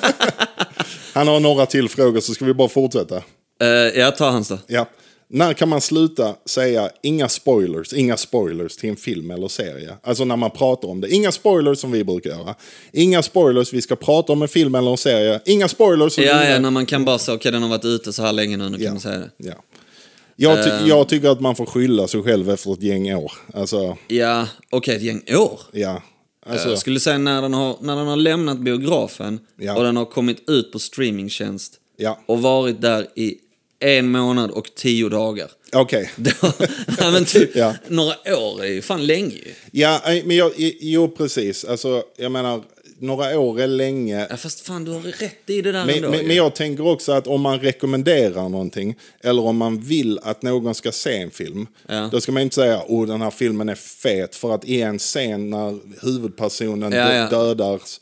S2: Han har några till frågor så ska vi bara fortsätta.
S1: Eh, jag tar hans då.
S2: Ja. När kan man sluta säga inga spoilers, inga spoilers till en film eller serie? Alltså när man pratar om det. Inga spoilers som vi brukar göra. Inga spoilers, vi ska prata om en film eller en serie. Inga spoilers. så
S1: Ja,
S2: vi-
S1: ja, när man kan bara säga okej den har varit ute så här länge nu, nu kan man säga det.
S2: Ja. Jag, ty-
S1: Ehm.
S2: jag tycker att man får skylla sig själv efter ett gäng år. Alltså,
S1: Ja, okej ett gäng år.
S2: ja. Alltså,
S1: Jag skulle säga när den har, när den har lämnat biografen
S2: Ja.
S1: och den har kommit ut på streamingtjänst
S2: Ja.
S1: och varit där i en månad och tio dagar.
S2: Okej.
S1: Då- ja, men typ
S2: Ja.
S1: några år är ju fan länge ju.
S2: Ja, nej, men jag, jo, precis. Alltså, jag menar, några år är länge.
S1: Ja, fast fan du har rätt i det där
S2: Men,
S1: ändå.
S2: men,
S1: ju.
S2: men jag tänker också att om man rekommenderar någonting eller om man vill att någon ska se en film.
S1: Ja.
S2: Då ska man inte säga att oh, den här filmen är fet för att i en scen när huvudpersonen
S1: Ja,
S2: dö-
S1: ja.
S2: dödas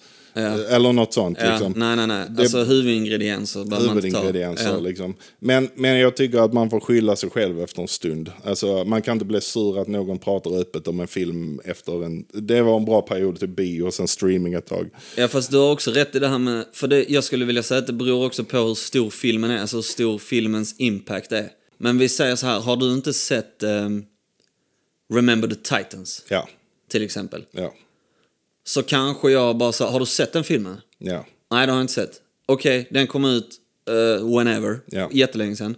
S2: eller något sånt.
S1: ja,
S2: liksom.
S1: Nej, nej, nej. Alltså huvudingredienser behöver man inte ta.
S2: Huvudingredienser.
S1: Ja.
S2: Liksom. Men, men jag tycker att man får skylla sig själv efter en stund. Alltså, man kan inte bli sur att någon pratar öppet om en film efter en... Det var en bra period till bio och sen streaming ett tag.
S1: Ja, fast du har också rätt i det här med... För det, jag skulle vilja säga att det beror också på hur stor filmen är, alltså hur stor filmens impact är. Men vi säger så här, har du inte sett ehm, Remember the Titans
S2: Ja,
S1: till exempel?
S2: ja,
S1: Så kanske jag bara sa, har du sett den filmen?
S2: ja.
S1: Nej, det har jag inte sett. Okej, den kom ut eh, whenever,
S2: Ja. Mm.
S1: jättelänge sedan.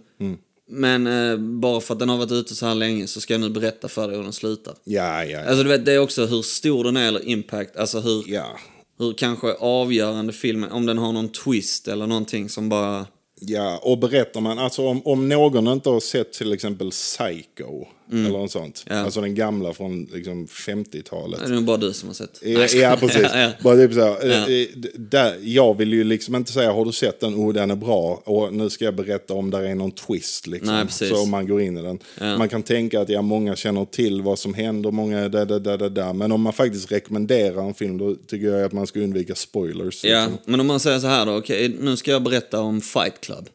S1: Men eh, bara för att den har varit ute så här länge så ska jag nu berätta för dig hur den slutar.
S2: Ja, ja, ja.
S1: Alltså du vet, det är också hur stor den är eller impact, alltså hur,
S2: Ja,
S1: hur kanske avgörande filmen, om den har någon twist eller någonting som bara...
S2: ja. och berättar man, alltså om, om någon inte har sett till exempel Psycho
S1: Mm.
S2: eller något sånt. Alltså den gamla från liksom 50-talet.
S1: Det är nog bara du som har sett.
S2: Ja, ja precis.
S1: Ja, ja.
S2: Bara typ så här, eh, eh, d- där, jag vill ju liksom inte säga har du sett den, oh den är bra och nu ska jag berätta om där är någon twist. Liksom.
S1: Nej, precis.
S2: så om man går in i den. Man kan tänka att ja, många känner till vad som händer, många där, där, där, där, där. Men om man faktiskt rekommenderar en film då tycker jag att man ska undvika spoilers.
S1: Ja,
S2: liksom.
S1: men om man säger så här då, okej, nu ska jag berätta om Fight Club.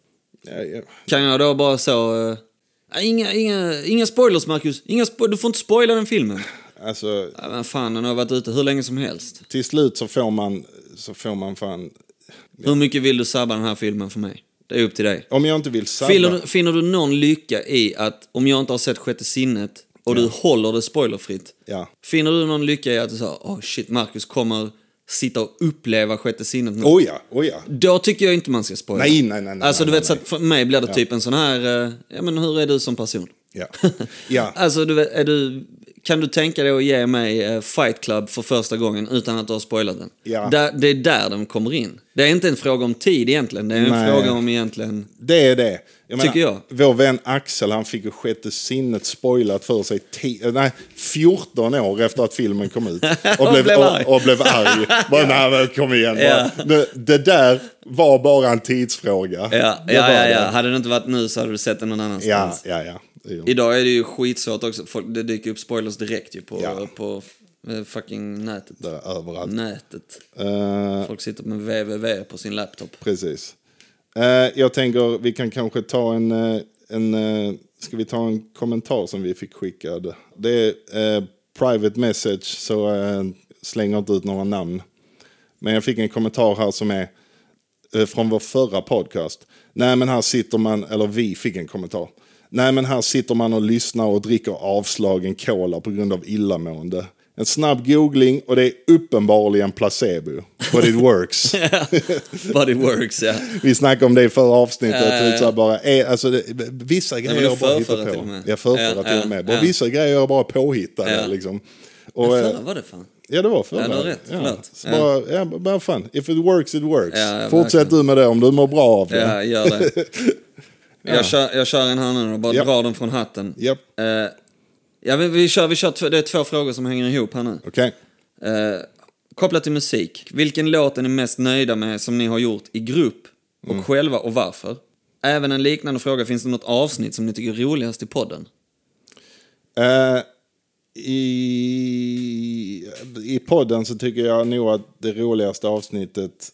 S2: Ja, ja.
S1: Kan jag då bara så... eh, inga, inga, inga spoilers, Marcus. Inga spo- du får inte spoila den filmen.
S2: Alltså,
S1: Ja, men fan, den har varit ute hur länge som helst.
S2: till slut så får man, så får man fan...
S1: Hur mycket vill du sabba den här filmen för mig? Det är upp till dig.
S2: Om jag inte vill sabba...
S1: Finner du, finner du någon lycka i att, om jag inte har sett Sjätte sinnet och du håller det spoilerfritt,
S2: Ja.
S1: finner du någon lycka i att du sa, oh shit, Marcus kommer sitta och uppleva Sjätte sinnet nu?
S2: Oh ja, oh ja.
S1: Då tycker jag inte man ska spoila.
S2: Nej, nej, nej, nej,
S1: Alltså, du
S2: nej,
S1: vet,
S2: nej.
S1: så att för mig blir det typ en sån här, eh, ja men hur är du som person?
S2: Ja. ja.
S1: Alltså, du vet, är du, kan du tänka dig att ge mig eh, Fight Club för första gången utan att du har spoilat den?
S2: Ja.
S1: Där, det är där de kommer in. Det är inte en fråga om tid egentligen, det är en
S2: Nej.
S1: fråga om egentligen...
S2: Det är det. Jag
S1: Tycker
S2: jag. Vår vän Axel han fick ju sjätte sinnet spoilat för sig ti- nej, 14 år efter att filmen kom ut. Och blev,
S1: blev arg.
S2: och, och blev arg. Bara, nej, men kom igen.
S1: Ja.
S2: Bara, det, det där var bara en tidsfråga.
S1: Ja,
S2: Det
S1: ja, ja,
S2: var det.
S1: ja. Hade det inte varit nu så hade du sett den någon
S2: ja,
S1: annanstans.
S2: ja, ja. Det är ju-
S1: Idag är det ju skitsvårt också, folk, det dyker upp spoilers direkt ju på,
S2: Ja.
S1: på eh, fucking nätet.
S2: det är Överallt.
S1: Nätet.
S2: Eh,
S1: Folk sitter med www på sin laptop.
S2: precis. Eh, jag tänker vi kan kanske ta en, eh, en eh, ska vi ta en kommentar som vi fick skickad. Det är eh, private message så eh, slänger inte ut några namn. Men jag fick en kommentar här som är eh, från vår förra podcast. Nej men här sitter man, eller vi fick en kommentar. Nej men här sitter man och lyssnar och dricker avslagen cola på grund av illamående. En snabb googling och det är uppenbarligen placebo. But it works.
S1: But it works, ja.
S2: Vi snackade om det i förra avsnittet.
S1: Ja, ja, ja.
S2: typ så här bara, eh, alltså, det, vissa grejer
S1: jag
S2: jag bara
S1: förförra
S2: hittar
S1: till och
S2: på.
S1: med.
S2: Jag förförra
S1: Ja,
S2: till
S1: ja,
S2: och med. Bara,
S1: ja.
S2: Vissa grejer jag bara påhittade.
S1: Ja.
S2: Liksom. Och, eh,
S1: Förra var det fan.
S2: ja, det var förra.
S1: Ja, du har rätt. Förlåt.
S2: Så bara, ja, bara fan. If it works, it works.
S1: Ja, ja,
S2: Fortsätt du med det om du mår bra av det.
S1: Ja, gör det. Jag, kör, jag kör en här nu och bara
S2: Japp.
S1: drar den från hatten.
S2: Japp.
S1: Eh, ja, men vi kör, vi kör två, det är två frågor som hänger ihop här nu.
S2: Okej.
S1: Eh, kopplat till musik. Vilken låt är ni mest nöjda med som ni har gjort i grupp och
S2: Mm.
S1: själva och varför? Även en liknande fråga, finns det något avsnitt som ni tycker är roligast i podden?
S2: Eh, i, I podden så tycker jag nog att det roligaste avsnittet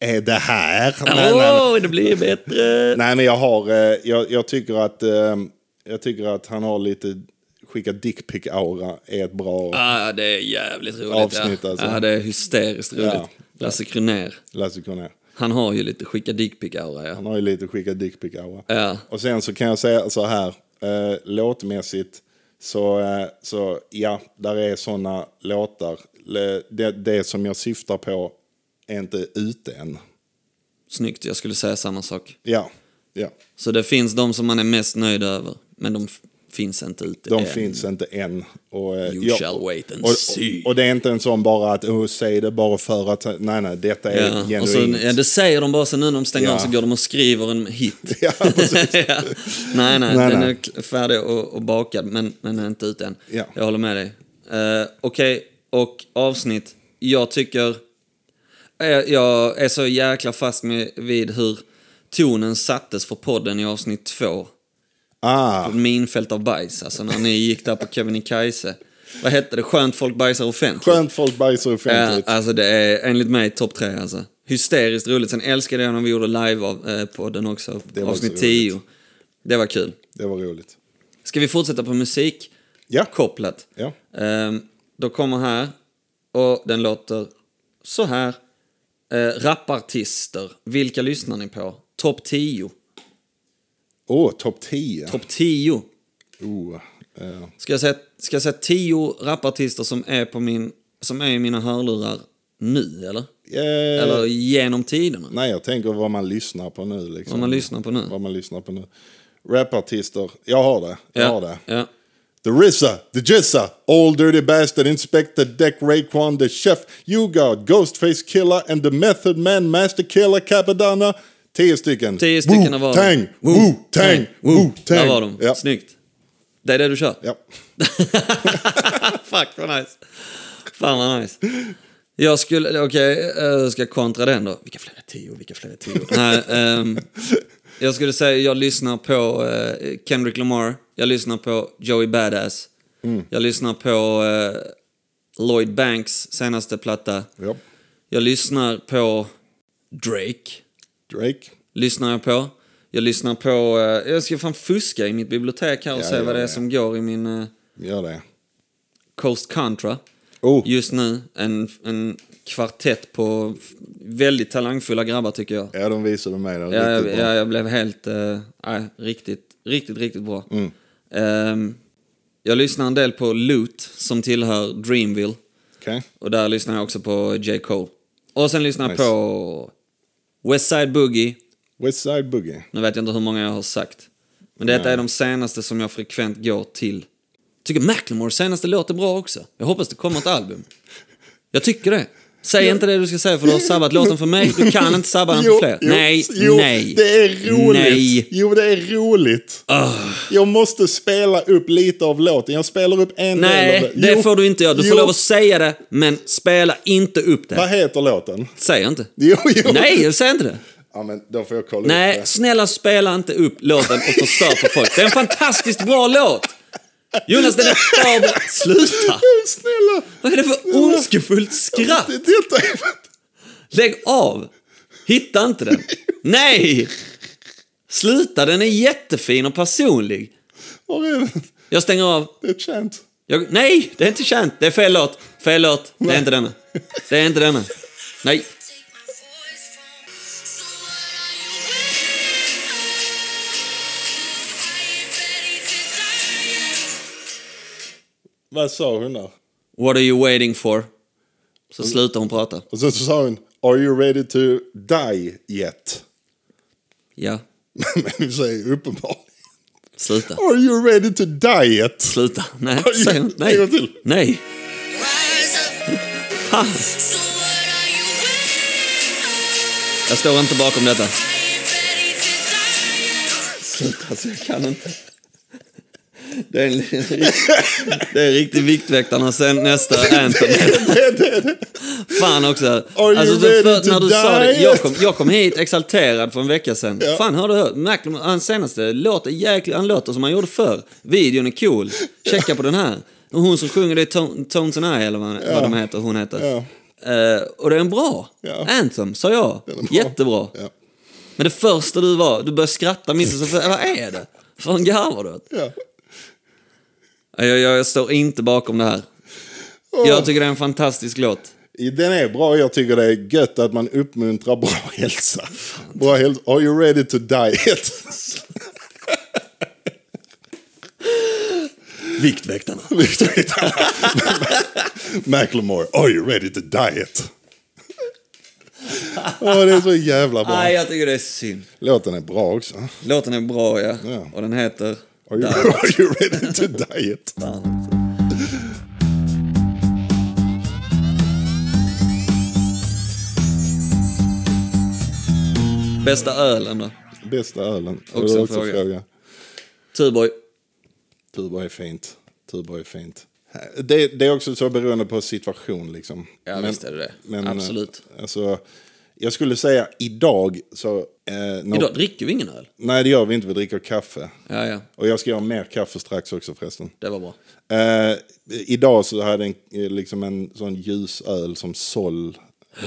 S2: är det här. eh,
S1: Åh,
S2: Nej, nej, nej.
S1: det blir bättre!
S2: Nej, men jag har... eh, Jag, jag, tycker att, eh, jag tycker att han har lite... Skicka dickpic-aura är ett bra...
S1: Ah, det är jävligt roligt.
S2: Avsnitt,
S1: ja.
S2: alltså.
S1: Ah, det är hysteriskt roligt.
S2: Ja.
S1: Lasse Kronér,
S2: Lasse Kronér.
S1: han har ju lite skicka dickpic-aura, ja.
S2: Han har ju lite skicka dickpic-aura.
S1: Ja.
S2: Och sen så kan jag säga så här. Eh, låtmässigt så, eh, så ja, där är sådana låtar. Le- Det, det som jag syftar på är inte ute än.
S1: Snyggt, jag skulle säga samma sak.
S2: Ja, ja.
S1: Så det finns de som man är mest nöjd över, men de f- finns inte ute
S2: De
S1: än.
S2: finns inte än. Och, eh,
S1: You shall wait and
S2: och,
S1: see.
S2: Och, och det är inte en sån bara att oh, säg det bara för att... Nej, nej, detta är
S1: Ja, och så,
S2: genuint.
S1: ja, det säger de bara, sen nu när de stänger
S2: Ja.
S1: av så går de och skriver en hit.
S2: Ja, precis.
S1: ja. Nej, nej,
S2: Nej,
S1: den
S2: nej.
S1: är kl- färdig och, och bakad, men, men är inte ute än.
S2: Ja.
S1: Jag håller med dig. Eh, Okej, och avsnitt. Jag tycker... eh, Jag är så jäkla fast med, vid hur tonen sattes för podden i avsnitt två.
S2: Ah,
S1: Minfält av bajs, alltså när ni gick där på Kebnekaise. Vad hette det? Skönt folk bajsar offentligt.
S2: skönt folk bajsar
S1: Ja,
S2: offentligt.
S1: alltså det är enligt mig topp tre alltså. Hysteriskt roligt. Sen älskade jag när vi gjorde live av, eh, på den också,
S2: var
S1: avsnitt
S2: också roligt.
S1: 10. Det var kul.
S2: Det var roligt.
S1: Ska vi fortsätta på musik?
S2: Ja.
S1: Kopplat.
S2: Ja.
S1: Ehm, då kommer här, och den låter så här. Eh, rapartister, vilka lyssnar ni på? Topp 10.
S2: Åh, topp 10.
S1: Topp 10.
S2: Oh, eh,
S1: Ska jag, säga, ska jag säga 10 rapartister som är, på min, som är i mina hörlurar nu, eller?
S2: eh,
S1: Eller genom tiderna?
S2: Nej, jag tänker vad man lyssnar på nu. Liksom.
S1: Vad man lyssnar på nu.
S2: Vad man lyssnar på nu. Rapartister. Jag har det. Jag har det.
S1: ja.
S2: The RZA, The Jizza, Old Dirty Bastard, Inspector Deck, Raekwon, The Chef, You God, Ghostface Killer and The Method Man, Master Killer, Capadonna. Tio stycken.
S1: Tio stycken var
S2: Wu-Tang, Wu-Tang,
S1: Mm.
S2: Wu-Tang.
S1: Där var de.
S2: Ja.
S1: Snyggt. Det är det du kör?
S2: Ja.
S1: Fuck vad nice. Fan vad nice. Jag skulle, okej, okay, ska jag kontra den då? Vilka fler är tio, vilka fler är tio? Nej, ehm, jag skulle säga jag lyssnar på eh, Kendrick Lamar, jag lyssnar på Joey Badass,
S2: Mm.
S1: jag lyssnar på eh, Lloyd Banks senaste platta,
S2: ja.
S1: jag lyssnar på Drake,
S2: Drake.
S1: lyssnar jag på. Jag lyssnar på, eh, jag ska fan fuska i mitt bibliotek här och
S2: Ja,
S1: se
S2: gör
S1: vad det är
S2: det.
S1: som går i min eh,
S2: Gör det.
S1: Coast Contra.
S2: Oh,
S1: Just nu, en, en kvartett på f- väldigt talangfulla grabbar tycker jag.
S2: ja, de visade mig det.
S1: Ja, jag,
S2: Riktigt bra.
S1: ja, jag blev helt, eh, nej, riktigt, riktigt, riktigt bra.
S2: Mm.
S1: Ehm, jag lyssnar en del på Loot som tillhör Dreamville.
S2: Okej.
S1: Och där lyssnar jag också på J. Cole. Och sen lyssnar jag
S2: Nice.
S1: på West Side Boogie,
S2: Westside Boogie.
S1: Nu vet jag inte hur många jag har sagt. Men detta är de senaste som jag frekvent går till. Tycker Macklemores senaste låt är bra också. Jag hoppas det kommer ett album. Jag tycker det. Säg inte det du ska säga för du har sabbat låten för mig. Du kan inte sabba den för fler. nej,
S2: jo,
S1: nej.
S2: Det är roligt.
S1: Nej. Ah.
S2: Jo, det är roligt. Jag måste spela upp lite av låten. Jag spelar upp en del
S1: Nej,
S2: av
S1: det
S2: Jo,
S1: får du inte göra. Du
S2: jo.
S1: får lov att säga det, men spela inte upp det.
S2: Vad heter låten?
S1: Säg inte.
S2: Jo, jo.
S1: Nej, säg inte det.
S2: Ja, men då får jag kolla upp
S1: Nej,
S2: det.
S1: snälla spela inte upp låten och förstör för folk. Det är en fantastiskt bra låt. Jonas, den är för bra. Sluta!
S2: Snälla!
S1: Vad är det för ondskefullt skratt?
S2: Det, detta är...
S1: Lägg av! Hitta inte den. Nej! Sluta, den är jättefin och personlig.
S2: Var är den?
S1: Jag stänger av.
S2: Det är ett chant.
S1: Jag, nej, det är inte känt. Det är fel låt. Fel låt. Det är inte denna. Det är inte denna. Nej.
S3: Take my voice from. So what are you waiting for? Are you ready to die yet?
S2: Vad sa hon där?
S1: What are you waiting for? Så slutar hon prata.
S2: Och sen så sa hon Are you ready to die yet?
S1: Ja,
S2: Men du säger uppenbarligen
S1: sluta.
S2: Are you ready to die yet?
S1: Sluta. Nej,
S2: Oj,
S1: säg inte.
S2: en
S1: Nej.
S2: gång till.
S1: Nej.
S3: Rise up.
S1: Fan.
S3: So what are you waiting for?
S1: Jag står inte bakom detta.
S3: Are you ready to die yet?
S1: Sluta, alltså jag kan inte. Det är, en, det är en riktig Viktväktarna sen nästa anthem. Fan också.
S2: you
S1: Alltså, så
S2: ready
S1: för,
S2: to
S1: när du sa det,
S2: die?
S1: jag, kom, jag kom hit exalterad för en vecka sedan. Fan, har du hört? Macklemore, hans senaste låt är jäkligt, han låter som han gjorde förr. Videon är cool. Checka på den här. Och hon som sjunger det är Ton- Tones and I, eller vad, vad de heter, hon heter.
S2: Ja.
S1: Eh, och det är en bra
S2: Ja.
S1: anthem, sa jag.
S2: Den är bra.
S1: Jättebra.
S2: Ja.
S1: Men det första du var, du började skratta mitt i så vad är det? Fan garvar du åt?
S2: Ja.
S1: Jag, jag, jag står inte bakom det här. Jag tycker det är en fantastisk låt.
S2: Den är bra. Jag tycker det är gött att man uppmuntrar bra hälsa. Bra hälsa. Are you ready to die yet?
S1: Viktväktarna.
S2: Macklemore, are you ready to die yet? Åh, det är så jävla bra.
S1: Nej, jag tycker det är synd.
S2: Låten är bra också.
S1: Låten är bra, ja.
S2: Ja.
S1: Och den heter...
S2: Are you, are you ready to die yet?
S1: Bästa ölen då?
S2: Bästa ölen.
S1: Också
S2: Också
S1: en
S2: också
S1: fråga.
S2: fråga.
S1: Tuborg.
S2: Tuborg är fint. Tuborg är fint. Det, det är också så beroende på situation. Liksom.
S1: Ja, visst är det det. Absolut.
S2: eh, Alltså, jag skulle säga idag så... Eh, när,
S1: Idag dricker vi ingen öl.
S2: Nej, det gör vi inte. Vi dricker kaffe.
S1: Ja, ja.
S2: Och jag ska göra mer kaffe strax också förresten.
S1: Det var bra.
S2: Eh, idag så hade en, eh, liksom en sån ljusöl som Sol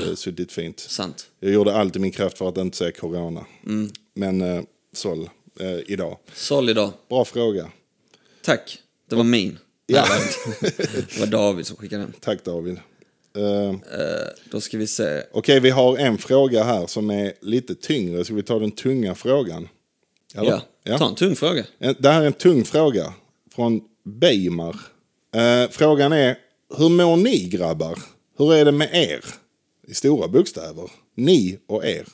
S2: eh, suttit fint.
S1: Sant.
S2: Jag gjorde allt i min kraft för att inte säga corona.
S1: Mm.
S2: Men eh, Sol eh, idag.
S1: Sol idag.
S2: Bra fråga.
S1: Tack. Det var min.
S2: Ja.
S1: Det var David som skickade den.
S2: Tack David. Eh,
S1: Då ska vi se.
S2: Okej, vi har en fråga här som är lite tyngre. Ska vi ta den tunga frågan? Eller?
S1: ja. Ta en tung fråga.
S2: En- Det här är en tung fråga från Beimar. Eh, frågan är, hur mår ni grabbar? Hur är det med er? I stora bokstäver. Ni och er.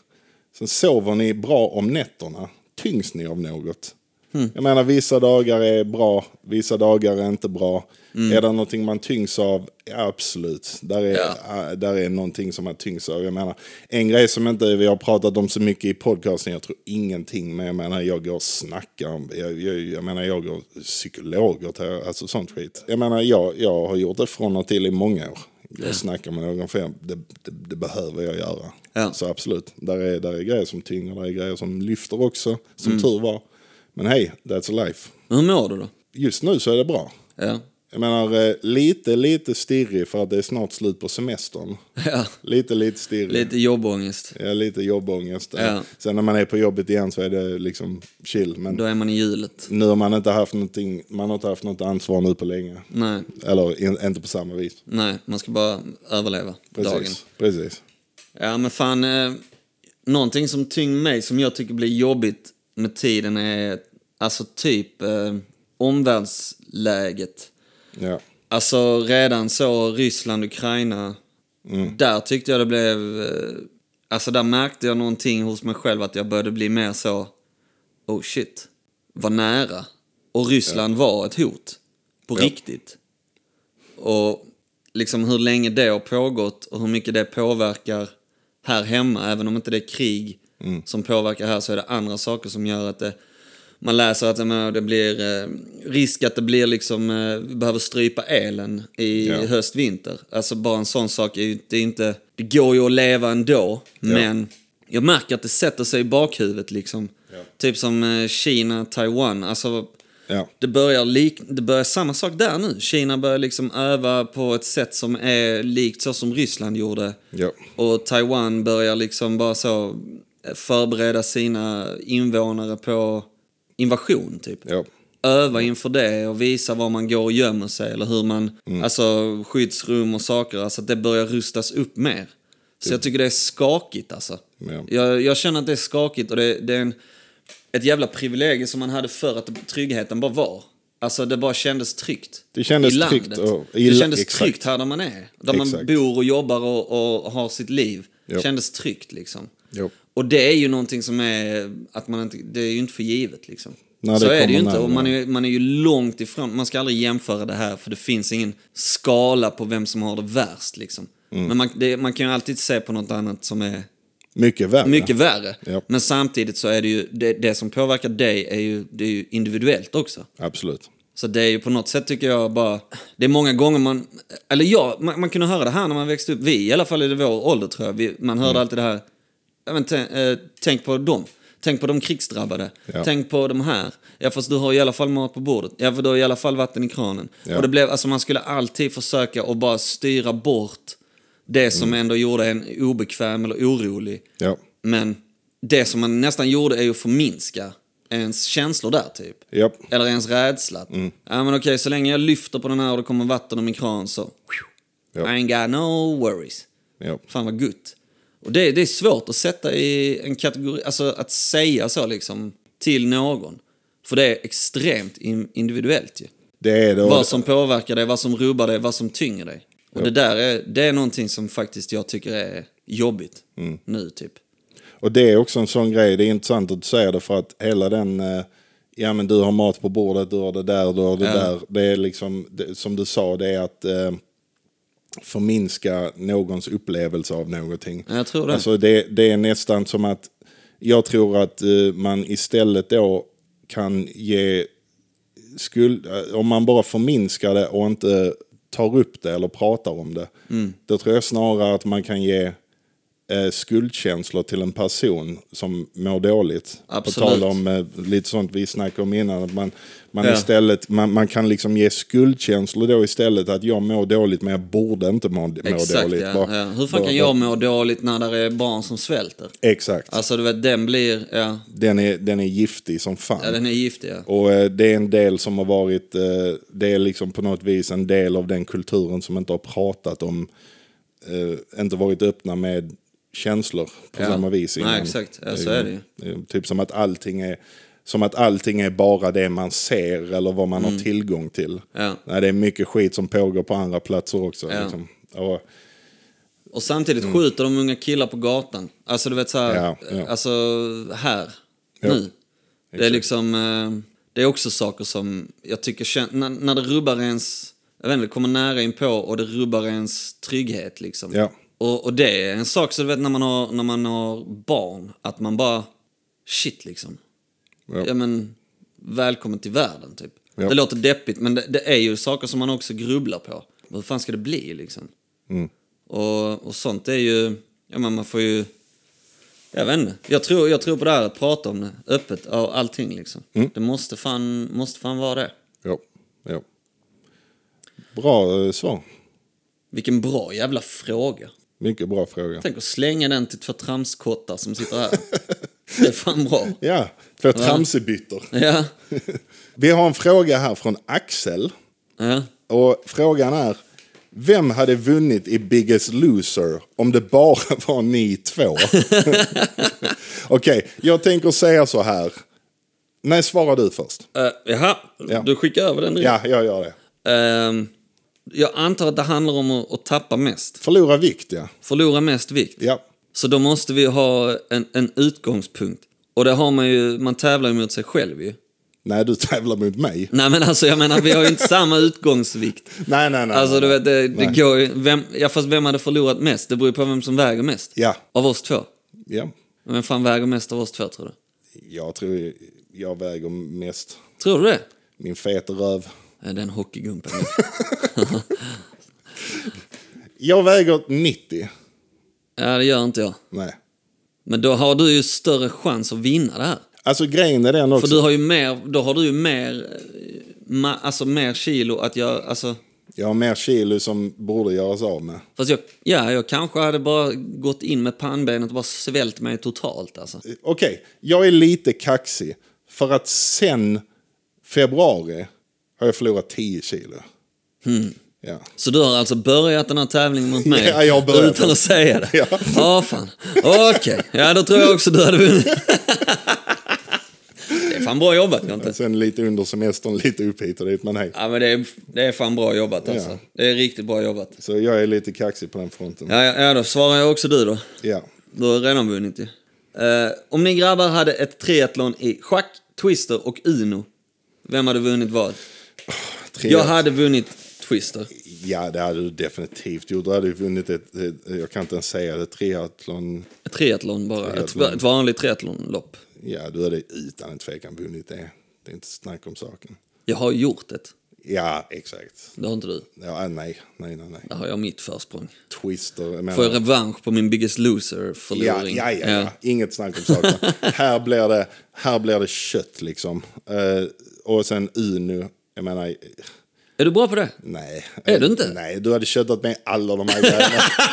S2: Sen sover ni bra om nätterna? Tyngs ni av något?
S1: Hmm.
S2: Jag menar, vissa dagar är bra, vissa dagar är inte bra.
S1: Mm.
S2: Är det någonting man tyngs av? Ja, absolut. Där är, ah, där är någonting som man tyngs av. Jag menar, en grej som inte vi har pratat om så mycket i podcasten, jag tror ingenting, men jag menar, jag går och snackar om, jag, jag, jag menar, jag går psykologer, till- alltså sånt skit. Jag menar, jag, jag har gjort det från och till i många år. Jag snackar med någon, för jag, det, det, det behöver jag göra.
S1: Ja.
S2: Så absolut, där är, där är grejer som tynger, där är grejer som lyfter också, som tur var. Men hej, that's life.
S1: Men hur mår du då?
S2: Just nu så är det bra.
S1: Ja.
S2: Jag menar, eh, lite, lite stirrig för att det är snart slut på semestern.
S1: ja.
S2: Lite, lite stirrig.
S1: Lite jobbångest.
S2: Ja, lite jobbångest.
S1: Ja.
S2: Sen när man är på jobbet igen så är det liksom chill. Men
S1: Då är man i hjulet.
S2: nu har man inte haft någonting, man har inte haft något ansvar nu på länge.
S1: Nej,
S2: Eller in, inte på samma vis.
S1: nej, man ska bara överleva
S2: Precis.
S1: dagen.
S2: Precis.
S1: Ja, men fan. Eh, någonting som tynger mig, som jag tycker blir jobbigt med tiden är alltså typ eh, omvärldsläget.
S2: Ja.
S1: Alltså redan så Ryssland, Ukraina. Där tyckte jag det blev... eh, Alltså där märkte jag någonting hos mig själv att jag började bli mer så... Oh shit. Var nära. Och Ryssland var ett hot. På
S2: Ja.
S1: riktigt. Och liksom hur länge det har pågått och hur mycket det påverkar här hemma. Även om inte det är krig som påverkar här så är det andra saker som gör att det, man läser att ja, men det blir eh, risk att det blir liksom, eh, vi behöver strypa elen i
S2: Ja.
S1: höst-vinter. Alltså bara en sån sak är ju det är inte, det går ju att leva ändå. Men jag märker att det sätter sig i bakhuvudet liksom. Typ som eh, Kina, Taiwan. Alltså
S2: Ja.
S1: det börjar, lik, det börjar samma sak där nu. Kina börjar liksom öva på ett sätt som är likt så som Ryssland gjorde.
S2: Ja.
S1: Och Taiwan börjar liksom bara så förbereda sina invånare på invasion typ.
S2: Ja.
S1: Öva inför det och visa var man går och gömmer sig eller hur man,
S2: Mm.
S1: alltså skyddsrum och saker, alltså att det börjar rustas upp mer. Så jag tycker det är skakigt alltså.
S2: Typ. Ja.
S1: Jag, jag känner att det är skakigt och det, det är en, ett jävla privilegium som man hade för att tryggheten bara var. Alltså det bara kändes tryggt.
S2: Det kändes
S1: I landet.
S2: tryggt och- i
S1: det
S2: la-
S1: kändes
S2: exakt.
S1: tryggt här där man är. Där man
S2: Exakt.
S1: bor och jobbar och, och har sitt liv.
S2: Ja.
S1: Kändes tryggt liksom.
S2: Ja.
S1: Och det är ju någonting som är, att man inte, det är ju inte för givet liksom.
S2: Nej, det
S1: så är det ju
S2: kommer
S1: inte
S2: nära.
S1: och man är, man är ju långt ifrån, man ska aldrig jämföra det här för det finns ingen skala på vem som har det värst liksom.
S2: Mm.
S1: Men man, det, man kan ju alltid se på något annat som är
S2: Mycket värre.
S1: mycket värre.
S2: Ja.
S1: Men samtidigt så är det ju, det, det som påverkar dig är ju, det är ju individuellt också.
S2: Absolut.
S1: Så det är ju på något sätt tycker jag bara, det är många gånger man, eller ja, man, man kunde höra det här när man växte upp, vi i alla fall i vår ålder tror jag, vi, man hörde
S2: Mm.
S1: alltid det här, ja, men, tän- eh, tänk på dem, tänk på de krigsdrabbade,
S2: Ja.
S1: tänk på de här, ja fast du har i alla fall mat på bordet, ja för du har i alla fall vatten i kranen.
S2: Ja.
S1: Och det blev, alltså man skulle alltid försöka att bara styra bort det som
S2: Mm.
S1: ändå gjorde en obekväm eller orolig.
S2: Ja.
S1: Men det som man nästan gjorde är ju att förminska ens känslor där typ.
S2: Japp.
S1: Eller ens rädsla.
S2: Mm.
S1: Ja men okej, så länge jag lyfter på den här och det kommer vatten ur min kran så...
S2: Ja.
S1: I ain't got no worries.
S2: Ja.
S1: Fan vad gött. Och det, det är svårt att sätta i en kategori, alltså att säga så liksom till någon. För det är extremt in, individuellt ju.
S2: Det är det. och det-
S1: Vad som påverkar dig, vad som rubbar dig, vad som tynger dig. Och det där är, det är någonting som faktiskt jag tycker är jobbigt
S2: Mm.
S1: nu typ.
S2: Och det är också en sån grej, det är intressant att du säger det för att hela den, eh, ja men du har mat på bordet, du har det där, du har det
S1: Ja.
S2: där. Det är liksom, det, som du sa, det är att eh, förminska någons upplevelse av någonting.
S1: Ja, jag tror det.
S2: Alltså det, det är nästan som att, jag tror att eh, man istället då kan ge skuld, eh, om man bara förminskar det och inte tar upp det eller pratar om det.
S1: Mm.
S2: Då tror jag snarare att man kan ge eh, skuldkänslor till en person som mår dåligt.
S1: Absolut.
S2: På tal om eh, lite sånt vi snackade om innan. Att man, man,
S1: Ja.
S2: istället, man, man kan liksom ge skuldkänslor då istället. Att jag mår dåligt men jag borde inte må, må
S1: Exakt
S2: dåligt.
S1: ja.
S2: Bara-
S1: ja. Hur fan
S2: bara-
S1: kan jag må dåligt när det är barn som svälter?
S2: Exakt.
S1: Alltså du vet, den blir, ja,
S2: Den, är, den är giftig som fan.
S1: ja den är giftig ja.
S2: Och eh, det är en del som har varit, eh, det är liksom på något vis en del av den kulturen som inte har pratat om, eh, inte varit öppna med känslor på
S1: Ja.
S2: samma vis
S1: Nej, exakt. Ja, så är det ju.
S2: Eh, Typ som att allting är, Som att allting är bara det man ser eller vad man har tillgång till.
S1: Mm. Ja.
S2: Nej, det är mycket skit som pågår på andra platser också.
S1: Ja.
S2: Liksom. Och,
S1: Och samtidigt skjuter de unga killar på gatan. Alltså du vet så här,
S2: Mm. Ja, ja.
S1: alltså här,
S2: Ja,
S1: nu. Det är liksom, eh, det är också saker som jag tycker, kän- när, när det rubbar ens, jag vet inte, det kommer nära in på och det rubbar ens trygghet liksom.
S2: Ja.
S1: Och, och det är en sak så du vet när man har, när man har barn, att man bara, shit liksom.
S2: ja.
S1: Ja men, välkommen till världen typ.
S2: Ja.
S1: Det låter deppigt men det, det är ju saker som man också grubblar på. Hur fan ska det bli liksom?
S2: Mm.
S1: Och, och sånt är ju, ja men man får ju, jag vet inte. Jag tror, jag tror på det här att prata om det öppet och allting liksom.
S2: Mm.
S1: Det måste fan, måste fan vara det.
S2: Ja. ja. Bra eh, svar.
S1: Vilken bra jävla fråga.
S2: Mycket bra fråga.
S1: Tänk att slänga den till två tramskottar som sitter här. det är fan bra.
S2: Ja, två tramsebyttor.
S1: Ja,
S2: Vi har en fråga här från Axel.
S1: ja.
S2: Och frågan är, vem hade vunnit i Biggest Loser om det bara var ni två? Okej, jag tänker säga så här. Nej, svara du först.
S1: Uh, jaha,
S2: Ja.
S1: du skickar över den direkt.
S2: Ja, jag gör det.
S1: Ehm, jag antar att det handlar om att, att tappa mest.
S2: Förlora vikt, ja.
S1: Förlora mest vikt.
S2: Ja,
S1: Så då måste vi ha en, en utgångspunkt. Och det har man ju, man tävlar ju mot sig själv ju.
S2: nej du tävlar mot mig.
S1: Nej men alltså jag menar vi har ju inte samma utgångsvikt.
S2: Nej, nej, nej.
S1: Alltså
S2: nej,
S1: du vet, det, det
S2: Nej.
S1: går ju, vem, ja fast vem hade förlorat mest? Det beror ju på vem som väger mest.
S2: Ja.
S1: Av oss två.
S2: Ja,
S1: Vem fan väger mest av oss två tror du?
S2: jag tror jag väger mest.
S1: Tror du det?
S2: Min feta röv.
S1: Ja, Den hockeygumpen.
S2: Jag väger 90.
S1: ja det gör inte jag.
S2: Nej.
S1: Men då har du ju större chans att vinna det här.
S2: Alltså grejen är den också.
S1: För du har ju mer, då har du ju mer, eh, ma, alltså mer kilo att göra, alltså.
S2: Jag har mer kilo som borde göras av med.
S1: Fast jag, ja, jag kanske hade bara gått in med pannbenet och bara svält mig totalt alltså.
S2: Okej, jag är lite kaxig. För att sen februari har jag förlorat 10 kilo. Ja.
S1: Så du har alltså börjat den här tävlingen mot mig?
S2: Ja, jag har börjat
S1: Utan
S2: den.
S1: att säga det?
S2: Ja.
S1: Ja, fan. Okej, ja då tror jag också du hade vunnit. Det är fan bra jobbat, inte.
S2: Sen lite under semestern, lite upp hit och dit. Men hej.
S1: Ja, men det är, det är fan bra jobbat alltså.
S2: Ja.
S1: Det är riktigt bra jobbat.
S2: Så jag är lite kaxig på den fronten. Ja.
S1: Ja, ja, ja, då svarar jag också du då. Du har redan vunnit ju. Eh, om ni grabbar hade ett triathlon i schack, twister och uno, vem hade vunnit vad?
S2: Tre-
S1: Jag hade vunnit twister.
S2: ja, det hade du definitivt gjort. Du hade ju vunnit ett, ett, jag kan inte ens säga det, triathlon.
S1: Ett Triathlon bara.
S2: Triathlon.
S1: Ett, ett vanligt triathlonlopp.
S2: Ja, du hade utan en tvekan vunnit det. Det är inte snack om saken.
S1: Jag har gjort ett.
S2: Ja, exakt.
S1: Det har inte du.
S2: Ja, nej, nej, nej, nej.
S1: Där har jag mitt försprång.
S2: Twister. jag menar-
S1: Får jag revansch på min Biggest
S2: Ja,
S1: Loser-förloring?
S2: ja, ja, ja. Inget snack om saken. här, blir det, här blir det kött liksom. Eh, och sen Uno. Jag menar, eh,
S1: Är du bra på det?
S2: nej.
S1: Är du inte?
S2: Nej, du hade köttat med alla de här grejerna.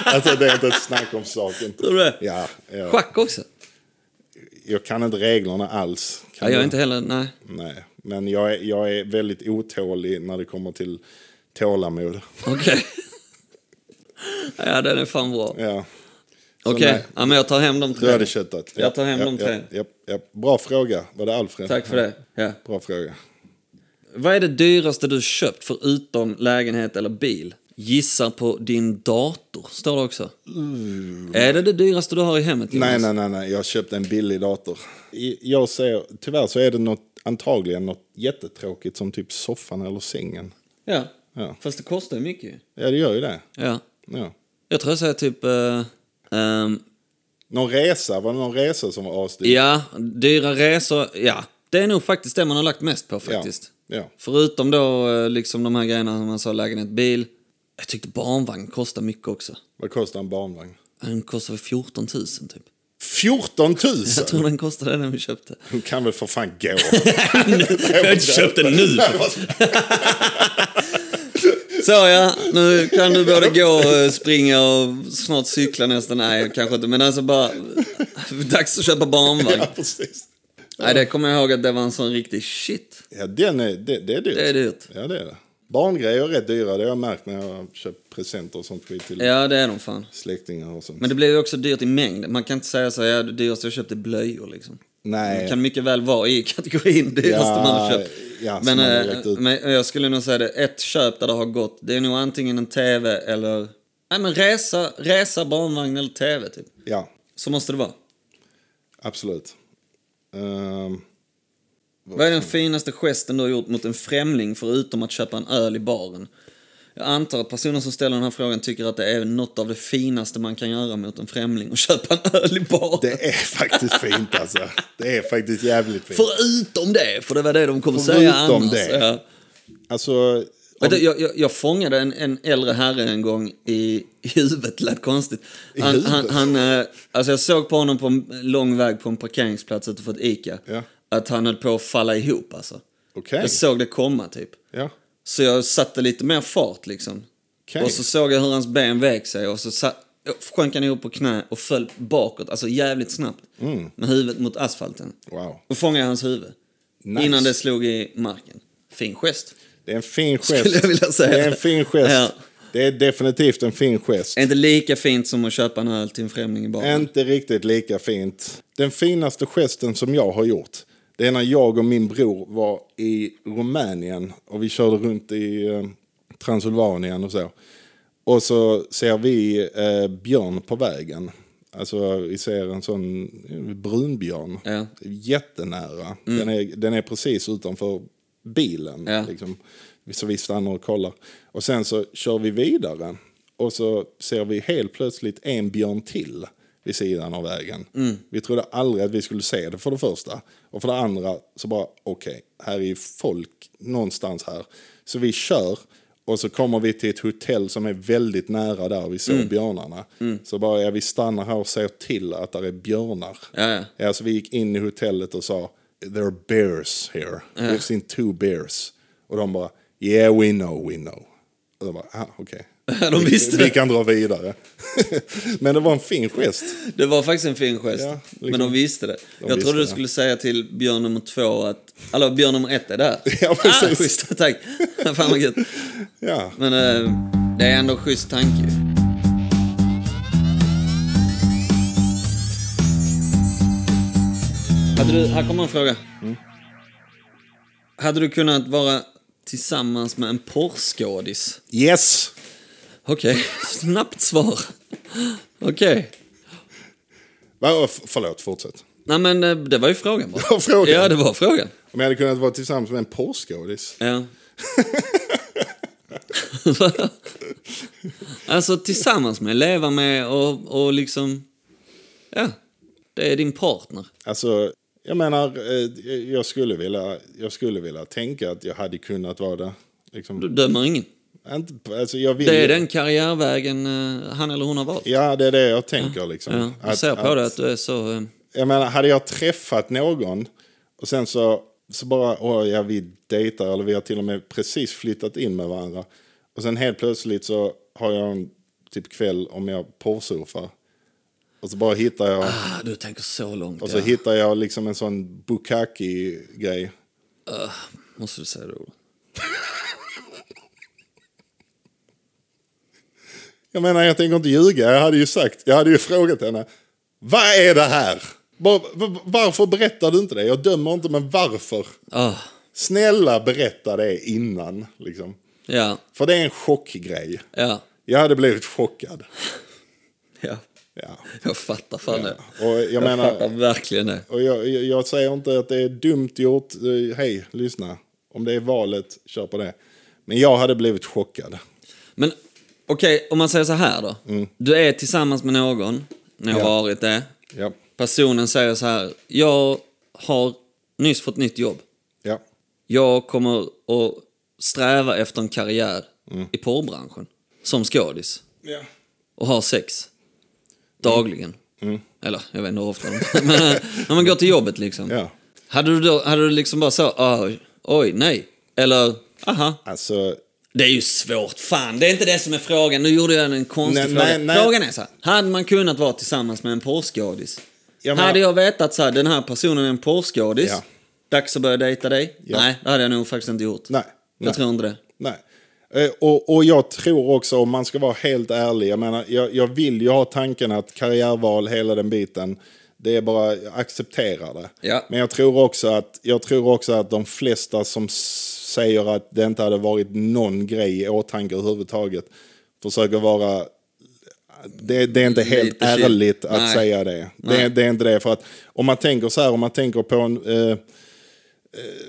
S2: alltså det är inte ett snack om saken.
S1: Tror du det?
S2: Ja, ja.
S1: Schack också?
S2: Jag kan inte reglerna alls. Kan
S1: Ja, jag är
S2: du?
S1: inte heller... Nej.
S2: Nej, men jag är, jag är väldigt otålig när det kommer till tålamod.
S1: Okej. ja, den är fan bra.
S2: Ja. Så
S1: Okej,
S2: nej,
S1: ja, men jag tar hem de tre.
S2: Du hade köttat.
S1: Jag tar hem
S2: ja,
S1: de
S2: ja,
S1: tre.
S2: Ja, ja. Bra fråga. Var det Alfred?
S1: Tack för det. Ja.
S2: Bra fråga.
S1: Vad är det dyraste du köpt förutom lägenhet eller bil? Gissar på din dator, står det också. Är det det dyraste du har i hemmet? Jonas?
S2: Mm. Nej, nej, nej, nej. Jag köpte en billig dator. I- Jag säger, tyvärr så är det något, antagligen något jättetråkigt som typ soffan eller sängen.
S1: Ja.
S2: Ja.
S1: fast det kostar ju mycket ju.
S2: Ja, det gör ju det.
S1: Ja.
S2: Ja.
S1: Jag tror jag säger typ... eh, ehm,
S2: Någon resa, var det någon resa som var asdyr?
S1: ja, dyra resor. Ja, det är nog faktiskt det man har lagt mest på faktiskt.
S2: Ja, ja.
S1: Förutom då eh, liksom de här grejerna som man sa, lägenhet, bil. Jag tyckte barnvagn kostar mycket också.
S2: Vad kostar en barnvagn?
S1: Den kostar väl 14 000 typ.
S2: 14
S1: Jag tror
S2: 000!
S1: den kostade den när vi köpte.
S2: Hon kan väl för fan gå?
S1: Jag har inte köpt den nu. Så ja, nu kan du både gå, eh, springa och snart cykla nästan. Nej, kanske inte. Men alltså bara... Dags att köpa barnvagn.
S2: ja, precis.
S1: Nej, det kommer jag ihåg att det var en sån riktig shit.
S2: Ja, den är, det, det är dyrt.
S1: Det är dyrt.
S2: Ja, det är det. Barngrejer är rätt dyra, det har jag märkt när jag har köpt presenter och sånt skit till
S1: Ja, det är de fan.
S2: släktingar och sånt.
S1: Men det blev ju också dyrt i mängd. Man kan inte säga så här, ja, det dyraste jag köpte är blöjor liksom.
S2: Nej.
S1: Kan mycket väl vara i kategorin dyraste
S2: Eh, Ja,
S1: manköp.
S2: ja, som
S1: men,
S2: man har
S1: eh,
S2: lagt ut.
S1: men jag skulle nog säga det, ett köp där det har gått, det är nog antingen en TV eller... Nej men resa, resa barnvagn eller TV typ.
S2: Ja,
S1: Så måste det vara.
S2: absolut. Ehm,
S1: Vad är den finaste gesten du har gjort mot en främling förutom att köpa en öl i baren? Jag antar att personen som ställer den här frågan tycker att det är något av det finaste man kan göra mot en främling, att köpa en öl i baren.
S2: det är faktiskt fint alltså. Det är faktiskt jävligt fint.
S1: Förutom det, för det var det de kommer säga
S2: Förutom
S1: annars.
S2: det.
S1: Ja.
S2: Alltså,
S1: Vet du, jag, jag, jag fångade en, en äldre herre en gång i, i huvudet, lät konstigt. Han,
S2: huvudet?
S1: han, han, eh, alltså jag såg på honom på en lång väg på en parkeringsplats utanför ett Ica.
S2: Ja.
S1: Att han höll på att falla ihop alltså.
S2: Okej.
S1: Jag såg det komma typ.
S2: ja.
S1: Så jag satte lite mer fart liksom.
S2: Okej.
S1: Och så såg jag hur hans ben vek sig och så satt, sjönk han ihop på knä och föll bakåt, alltså jävligt snabbt.
S2: Mm.
S1: Med huvudet mot asfalten.
S2: Wow.
S1: Då fångade jag hans huvud.
S2: Nice.
S1: Innan det slog i marken. Fin gest.
S2: Det är en fin gest.
S1: Skulle jag vilja säga.
S2: Det är en fin gest.
S1: Ja.
S2: Det är definitivt en fin gest.
S1: Är inte lika fint som att köpa en öl till en främling i baren.
S2: Inte riktigt lika fint. Den finaste gesten som jag har gjort, det är när jag och min bror var i Rumänien och vi körde runt i eh, Transylvanien och så. Och så ser vi eh, björn på vägen. Alltså vi ser en sån eh, brunbjörn.
S1: Ja. Mm.
S2: Jättenära. Den, är, den är precis utanför bilen.
S1: Ja.
S2: Liksom. Så vi stannar och kollar. Och sen så kör vi vidare. Och så ser vi helt plötsligt en björn till vid sidan av vägen.
S1: Mm.
S2: Vi trodde aldrig att vi skulle se det för det första. Och för det andra så bara, okej, här är ju folk någonstans här. Så vi kör och så kommer vi till ett hotell som är väldigt nära där vi såg
S1: Mm.
S2: björnarna. Så bara, ja, vi stannar här och ser till att det är björnar.
S1: Ja, ja.
S2: Ja, så vi gick in i hotellet och sa There are bears here. We've seen two bears. Och de bara Yeah we know, we know. Och de bara, ah, okej.
S1: de visste
S2: vi, vi
S1: det.
S2: kan dra vidare. Men det var en fin gest.
S1: Det var faktiskt en fin gest.
S2: Ja, liksom.
S1: Men de visste det. jag
S2: visste
S1: trodde du
S2: det.
S1: skulle säga till björn nummer två att... Eller björn nummer ett är där.
S2: Ja, precis.
S1: Ah, schysst, tack. Fan vad gött.
S2: Ja,
S1: Men eh, det är ändå en schysst tanke ju. Hade du, här kommer en fråga.
S2: Mm.
S1: Hade du kunnat vara tillsammans med en porrskådis?
S2: yes!
S1: Okej, snabbt svar. Okej.
S2: Va, f- förlåt, fortsätt.
S1: Nej men eh, det var ju frågan bara.
S2: Det var frågan.
S1: Ja, det var frågan.
S2: Om jag hade kunnat vara tillsammans med en porrskådis.
S1: Ja. alltså tillsammans med, leva med och, och liksom... Ja, det är din partner.
S2: Alltså, jag menar, eh, jag skulle, vilja, jag skulle vilja tänka att jag hade kunnat vara det.
S1: Du
S2: Liksom,
S1: dömer ingen.
S2: inte, alltså, jag vill
S1: Det är
S2: ju-
S1: den karriärvägen eh, han eller hon har valt.
S2: Ja, det är det jag tänker. Liksom.
S1: Ja, jag ser på det att du är så... eh,
S2: Jag menar, hade jag träffat någon och sen så, så bara, åh ja, vi dejtar eller vi har till och med precis flyttat in med varandra. Och sen helt plötsligt så har jag en typ kväll om jag porrsurfar. Och så bara hittar jag,
S1: Ah, du tänker så långt.
S2: och så
S1: ja.
S2: hittar jag liksom en sån bukkake-grej.
S1: Måste du säga det ordet?
S2: Jag menar, jag tänker inte ljuga. Jag hade ju sagt, jag hade ju frågat henne. Vad är det här? Var, var, varför berättar du inte det? Jag dömer inte, men varför?
S1: Ah,
S2: Snälla berätta det innan, liksom.
S1: ja,
S2: För det är en chockgrej.
S1: ja,
S2: Jag hade blivit chockad.
S1: ja.
S2: Ja.
S1: Jag fattar fan det.
S2: Och jag
S1: fattar
S2: menar,
S1: verkligen det.
S2: och jag, jag- jag säger inte att det är dumt gjort. Eh, Hej, lyssna. Om det är valet, kör på det. Men jag hade blivit chockad.
S1: Men okej, om man säger så här då. Du är tillsammans med någon, ni har
S2: Mm. Ja.
S1: varit det.
S2: Ja,
S1: Personen säger så här, jag har nyss fått nytt jobb.
S2: ja,
S1: Jag kommer att sträva efter en karriär
S2: Mm.
S1: i porrbranschen som skådis
S2: ja.
S1: och har sex dagligen.
S2: Mm.
S1: Eller jag vet inte hur ofta. Men eh, när man går till jobbet liksom.
S2: Ja.
S1: Hade, du då, hade du liksom bara så, oj, oj, nej. Eller, aha,
S2: Alltså,
S1: det är ju svårt. Fan, det är inte det som är frågan. Nu gjorde jag en konstig
S2: Nej,
S1: fråga.
S2: nej, nej.
S1: Frågan är så här. Hade man kunnat vara tillsammans med en porrskådis?
S2: Jag menar-
S1: Hade jag vetat så här, den här personen är en porrskådis.
S2: Ja.
S1: Dags att börja dejta dig.
S2: Ja.
S1: Nej, det hade jag nog faktiskt inte gjort.
S2: nej.
S1: Jag
S2: nej.
S1: tror inte det.
S2: Nej. Eh, Och, och jag tror också, om man ska vara helt ärlig, jag, menar, jag, jag vill ju ha tanken att karriärval, hela den biten, Det är bara, jag accepterar det.
S1: Ja.
S2: Men jag tror, också att, jag tror också att de flesta som s- säger att det inte hade varit någon grej i åtanke överhuvudtaget försöker vara... Det, det är inte helt
S1: Lite shit.
S2: ärligt att
S1: Nej.
S2: säga det. det.
S1: Nej.
S2: Det är inte det. För att om man tänker så här, om man tänker på en... Eh, eh,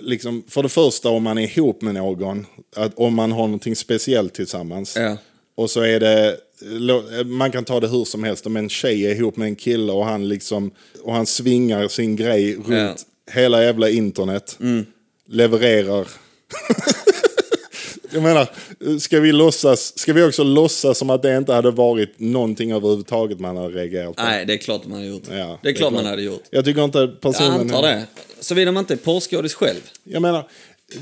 S2: liksom, för det första om man är ihop med någon, att om man har någonting speciellt tillsammans.
S1: Ja.
S2: Och så är det, lo- man kan ta det hur som helst, om en tjej är ihop med en kille och han liksom, och han svingar sin grej runt hela jävla internet.
S1: Mm.
S2: Levererar. Jag menar, ska vi, låtsas, ska vi också låtsas som att det inte hade varit någonting överhuvudtaget man hade reagerat på?
S1: Nej, det är klart man hade gjort.
S2: Ja,
S1: det är klart man hade gjort.
S2: Jag tycker inte
S1: Jag
S2: personen...
S1: antar det. Såvida man inte är porrskådis själv.
S2: Jag menar,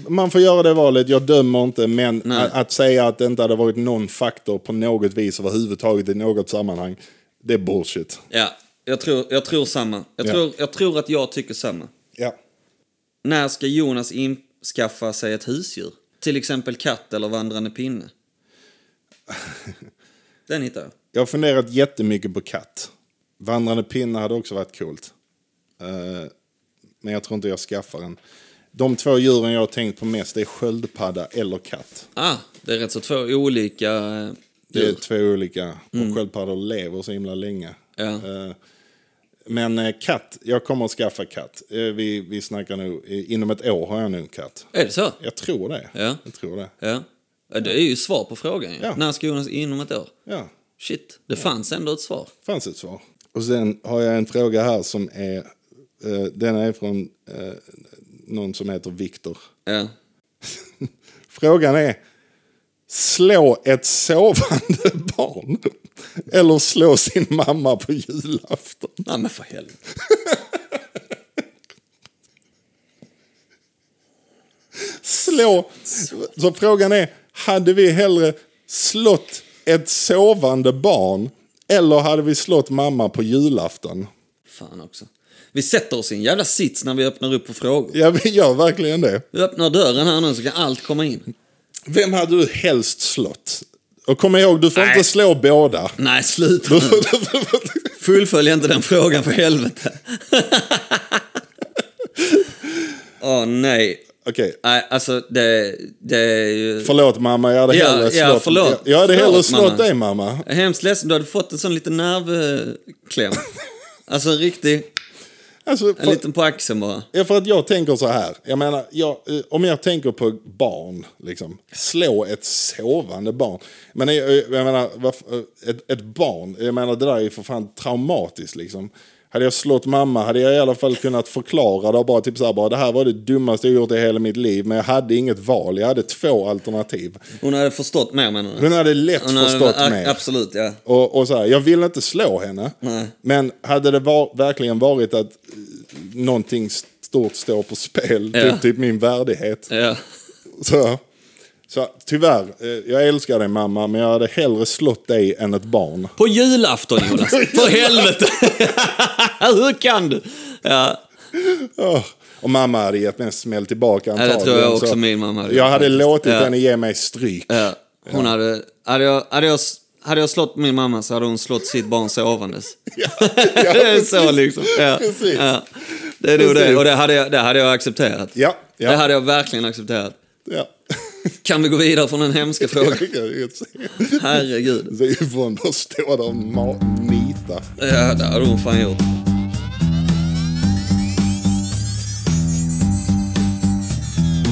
S2: man får göra det valet, jag dömer inte, men
S1: Nej.
S2: att, att säga att det inte hade varit någon faktor på något vis överhuvudtaget i något sammanhang, det är bullshit.
S1: Ja, jag tror, jag tror samma. Jag,
S2: Ja.
S1: tror, jag tror att jag tycker samma.
S2: Ja.
S1: När ska Jonas infskaffa sig ett husdjur? Till exempel katt eller vandrande pinne. Den hittar jag.
S2: Jag har funderat jättemycket på katt. Vandrande pinne hade också varit coolt. Eh, men jag tror inte jag skaffar en. De två djuren jag har tänkt på mest är sköldpadda eller katt.
S1: Ah, det är rätt så två olika eh,
S2: Det är
S1: djur. Mm.
S2: två olika. Och sköldpaddor lever så himla länge.
S1: Ja.
S2: Eh, Men eh, katt, jag kommer att skaffa katt. Eh, Vi, vi snackar nu, eh, inom ett år har jag nu en katt.
S1: Är det så?
S2: Jag tror det.
S1: Ja.
S2: Jag tror det.
S1: Ja. ja. Det är ju svar på frågan ju.
S2: Ja.
S1: När ska Jonas inom ett år?
S2: Ja,
S1: Shit, det fanns ändå ett svar.
S2: fanns ett svar. Och sen har jag en fråga här som är, eh, den är från eh, någon som heter Viktor.
S1: Ja.
S2: Frågan är, slå ett sovande barn eller slå sin mamma på julafton?
S1: Nej men för helvete.
S2: slå. Så frågan är, hade vi hellre slått ett sovande barn eller hade vi slått mamma på julafton?
S1: Fan också. Vi sätter oss i en jävla sits när vi öppnar upp för frågor.
S2: Ja, vi gör verkligen det.
S1: Vi öppnar dörren här nu så kan allt komma in.
S2: Vem hade du helst slått? Och kom ihåg, du får
S1: Nej.
S2: inte slå båda.
S1: Nej, sluta nu. Fullfölj inte den frågan för helvete. Åh nej.
S2: Okej,
S1: Nej, alltså det, det är ju...
S2: förlåt mamma, jag hade
S1: Ja,
S2: hellre
S1: ja,
S2: slått,
S1: förlåt.
S2: jag hade hellre
S1: Förlåt,
S2: slått
S1: mamma.
S2: dig mamma.
S1: Jag är hemskt ledsen, du hade fått en sån liten nervkläm. Alltså en riktig,
S2: Alltså,
S1: en
S2: för-
S1: liten på axeln bara.
S2: Ja, för att jag tänker så här. Jag menar, jag, eh, om jag tänker på barn, liksom, slå ett sovande barn. Men jag, eh, jag menar, varf- eh, ett, ett barn, jag menar det där är ju för fan traumatiskt liksom. Hade jag slått mamma hade jag i alla fall kunnat förklara det och bara typ så här, bara, det här var det dummaste jag gjort i hela mitt liv. Men jag hade inget val, jag hade två alternativ.
S1: Hon hade förstått mer menar du?
S2: Hon hade lätt
S1: Hon hade-
S2: förstått
S1: a-
S2: mer.
S1: Absolut, ja.
S2: Och, och så här, jag vill inte slå henne.
S1: Nej.
S2: Men hade det var, verkligen varit att eh, någonting stort står på spel,
S1: Ja.
S2: typ, typ min värdighet.
S1: ja.
S2: Så, så tyvärr, eh, jag älskar dig mamma, men jag hade hellre slått dig än ett barn.
S1: På julafton Jonas, för helvete! Hur kan du? Ja,
S2: Åh, Och mamma hade gett mig en smäll tillbaka
S1: det
S2: antagligen.
S1: tror jag
S2: så
S1: också min mamma hade
S2: Jag
S1: gjort,
S2: hade
S1: faktiskt.
S2: låtit
S1: Ja.
S2: henne ge mig stryk.
S1: ja. Eh, Hon hade... Hade jag, hade, jag, hade jag slått min mamma så hade hon slått sitt barn sovandes. det är så liksom. Ja.
S2: Precis.
S1: Ja. Det är nog
S2: Precis.
S1: det. Och det hade jag, det hade jag accepterat.
S2: Ja, ja.
S1: Det hade jag verkligen accepterat.
S2: Ja.
S1: Kan vi gå vidare från den hemska frågan? Herregud.
S2: Så Yvonne bara står där och ma- nitar.
S1: Ja, det hade hon fan gjort.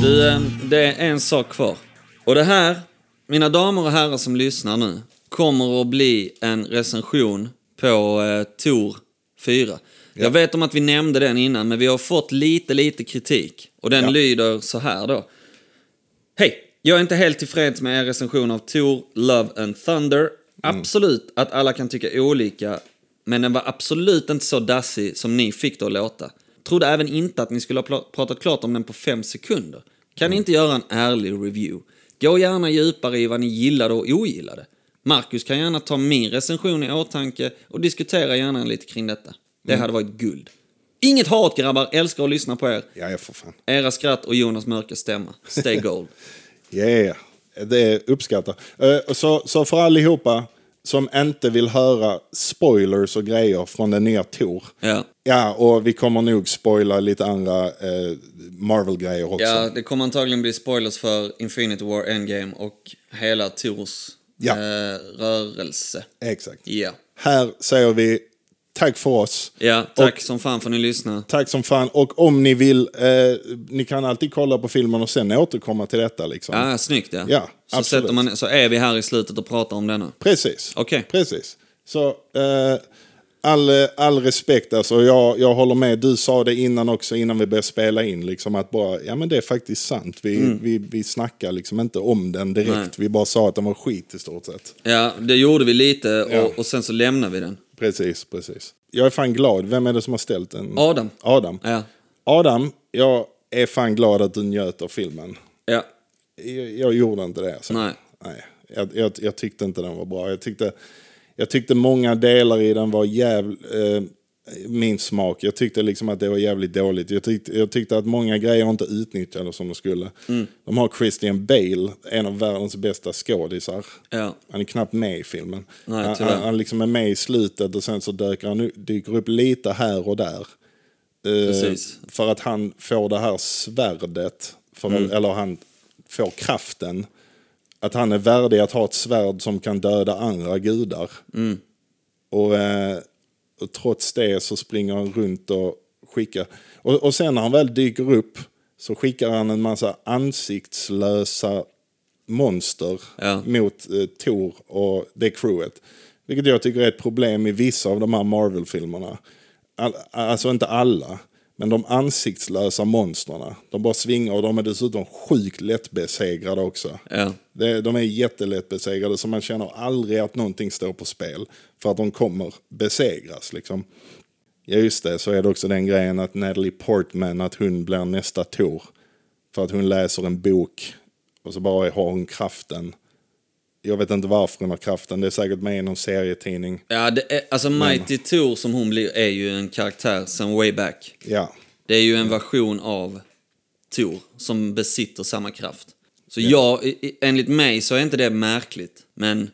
S1: Du, eh, det är en sak kvar. Och det här, mina damer och herrar som lyssnar nu, kommer att bli en recension på eh, Tor 4. Jag vet om att vi nämnde den innan, men vi har fått lite, lite kritik. Och den
S2: Ja.
S1: lyder så här då. Hej! Jag är inte helt tillfreds med er recension av Thor, Love and Thunder. Absolut att alla kan tycka olika, men den var absolut inte så dassig som ni fick det att låta. Trodde även inte att ni skulle ha pla- pratat klart om den på fem sekunder. Kan ni inte göra en ärlig review? Gå gärna djupare i vad ni gillade och ogillade. Marcus kan gärna ta min recension i åtanke och diskutera gärna lite kring detta. Det hade varit guld. Inget hat grabbar, älskar att lyssna på er.
S2: Ja, jag får fan.
S1: Era skratt och Jonas mörka stämma. Stay gold.
S2: Ja, yeah, det uppskattar. Eh, och så, så för allihopa, som inte vill höra spoilers och grejer från den nya Tor.
S1: Ja.
S2: Ja, och vi kommer nog spoila lite andra eh, Marvel-grejer också.
S1: Ja, det kommer antagligen bli spoilers för Infinity War Endgame och hela Tors
S2: Ja.
S1: eh, rörelse.
S2: Exakt.
S1: Ja.
S2: Här säger vi tack för oss.
S1: Ja, tack
S2: Och-
S1: som fan för att ni lyssnade.
S2: Tack som fan. Och om ni vill, eh, ni kan alltid kolla på filmen och sen återkomma till detta. Liksom.
S1: Ja, snyggt ja.
S2: Ja,
S1: så,
S2: absolut.
S1: sätter man, så är vi här i slutet och pratar om denna.
S2: Precis.
S1: Okej.
S2: Precis. Så eh, all, all respekt alltså. Jag, jag håller med. Du sa det innan också, innan vi började spela in. Liksom, att bara, ja men det är faktiskt sant. Vi, vi, vi snackar liksom inte om den direkt.
S1: Mm. Nej.
S2: Vi bara sa att den var skit i stort sett.
S1: Ja, det gjorde vi lite och,
S2: Ja.
S1: och sen så lämnade vi den.
S2: Precis, precis. Jag är fan glad. Vem är det som har ställt den?
S1: Adam.
S2: Adam.
S1: Ja.
S2: Adam, jag är fan glad att du njöt av filmen.
S1: Ja,
S2: jag, jag gjorde inte det. Alltså.
S1: Nej.
S2: Nej. Jag, jag, jag tyckte inte den var bra. Jag tyckte, jag tyckte många delar i den var jävligt... Eh, min smak. Jag tyckte liksom att det var jävligt dåligt. Jag tyckte, jag tyckte att många grejer inte utnyttjades som de skulle. De har Christian Bale, en av världens bästa skådisar.
S1: ja.
S2: Han är knappt med i filmen.
S1: Nej,
S2: han,
S1: tyvärr.
S2: han, han liksom är med i slutet och sen så dyker han u- dyker upp lite här och där. Eh,
S1: Precis.
S2: För att han får det här svärdet, för,
S1: Mm.
S2: eller han får kraften. Att han är värdig att ha ett svärd som kan döda andra gudar. Och, eh, och trots det så springer han runt och skickar. Och, och sen när han väl dyker upp så skickar han en massa ansiktslösa monster
S1: Ja.
S2: mot eh, Tor och det crewet. Vilket jag tycker är ett problem i vissa av de här Marvel-filmerna. All, alltså inte alla, men de ansiktslösa monsterna. De bara svingar och de är dessutom sjukt lättbesegrade också.
S1: Ja.
S2: Det, de är jättelättbesegrade så man känner aldrig att någonting står på spel. För att de kommer besegras liksom. Ja just det, så är det också den grejen att Natalie Portman, att hon blir nästa Tor. För att hon läser en bok och så bara har hon kraften. Jag vet inte varför hon har kraften, det är säkert med i någon serietidning.
S1: ja det är, alltså Mighty Tor som hon blir är ju en karaktär sen way back.
S2: Ja,
S1: Det är ju en version av Tor som besitter samma kraft. Så jag, i- i- enligt mig så är inte det märkligt. Men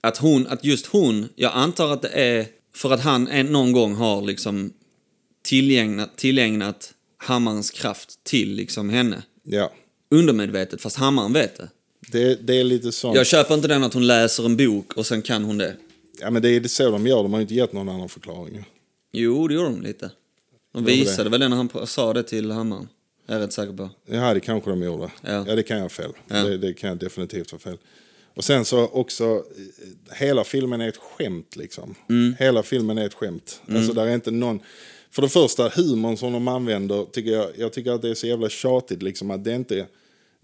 S1: att hon, att just hon, jag antar att det är för att han en, någon gång har liksom tillägnat, tillägnat hammarens kraft till liksom henne.
S2: ja.
S1: Undermedvetet, fast hammaren vet det.
S2: Det, det är lite sånt.
S1: Jag köper inte den att hon läser en bok och sen kan hon det.
S2: Ja men det är så de gör, de har ju inte gett någon annan förklaring.
S1: Jo, det gjorde de lite. De
S2: det?
S1: visade väl det när han pr- sa det till hammaren. Jag är rätt säker på.
S2: Ja, det kanske de gjorde.
S1: Ja.
S2: Ja, det kan jag ha fel.
S1: Ja.
S2: Det, det kan jag definitivt ha fel. Och sen så också, eh, hela filmen är ett skämt liksom. Hela filmen är ett skämt. Alltså där är inte någon... För det första, humorn som de använder, tycker jag, jag tycker att det är så jävla tjatigt liksom att det inte...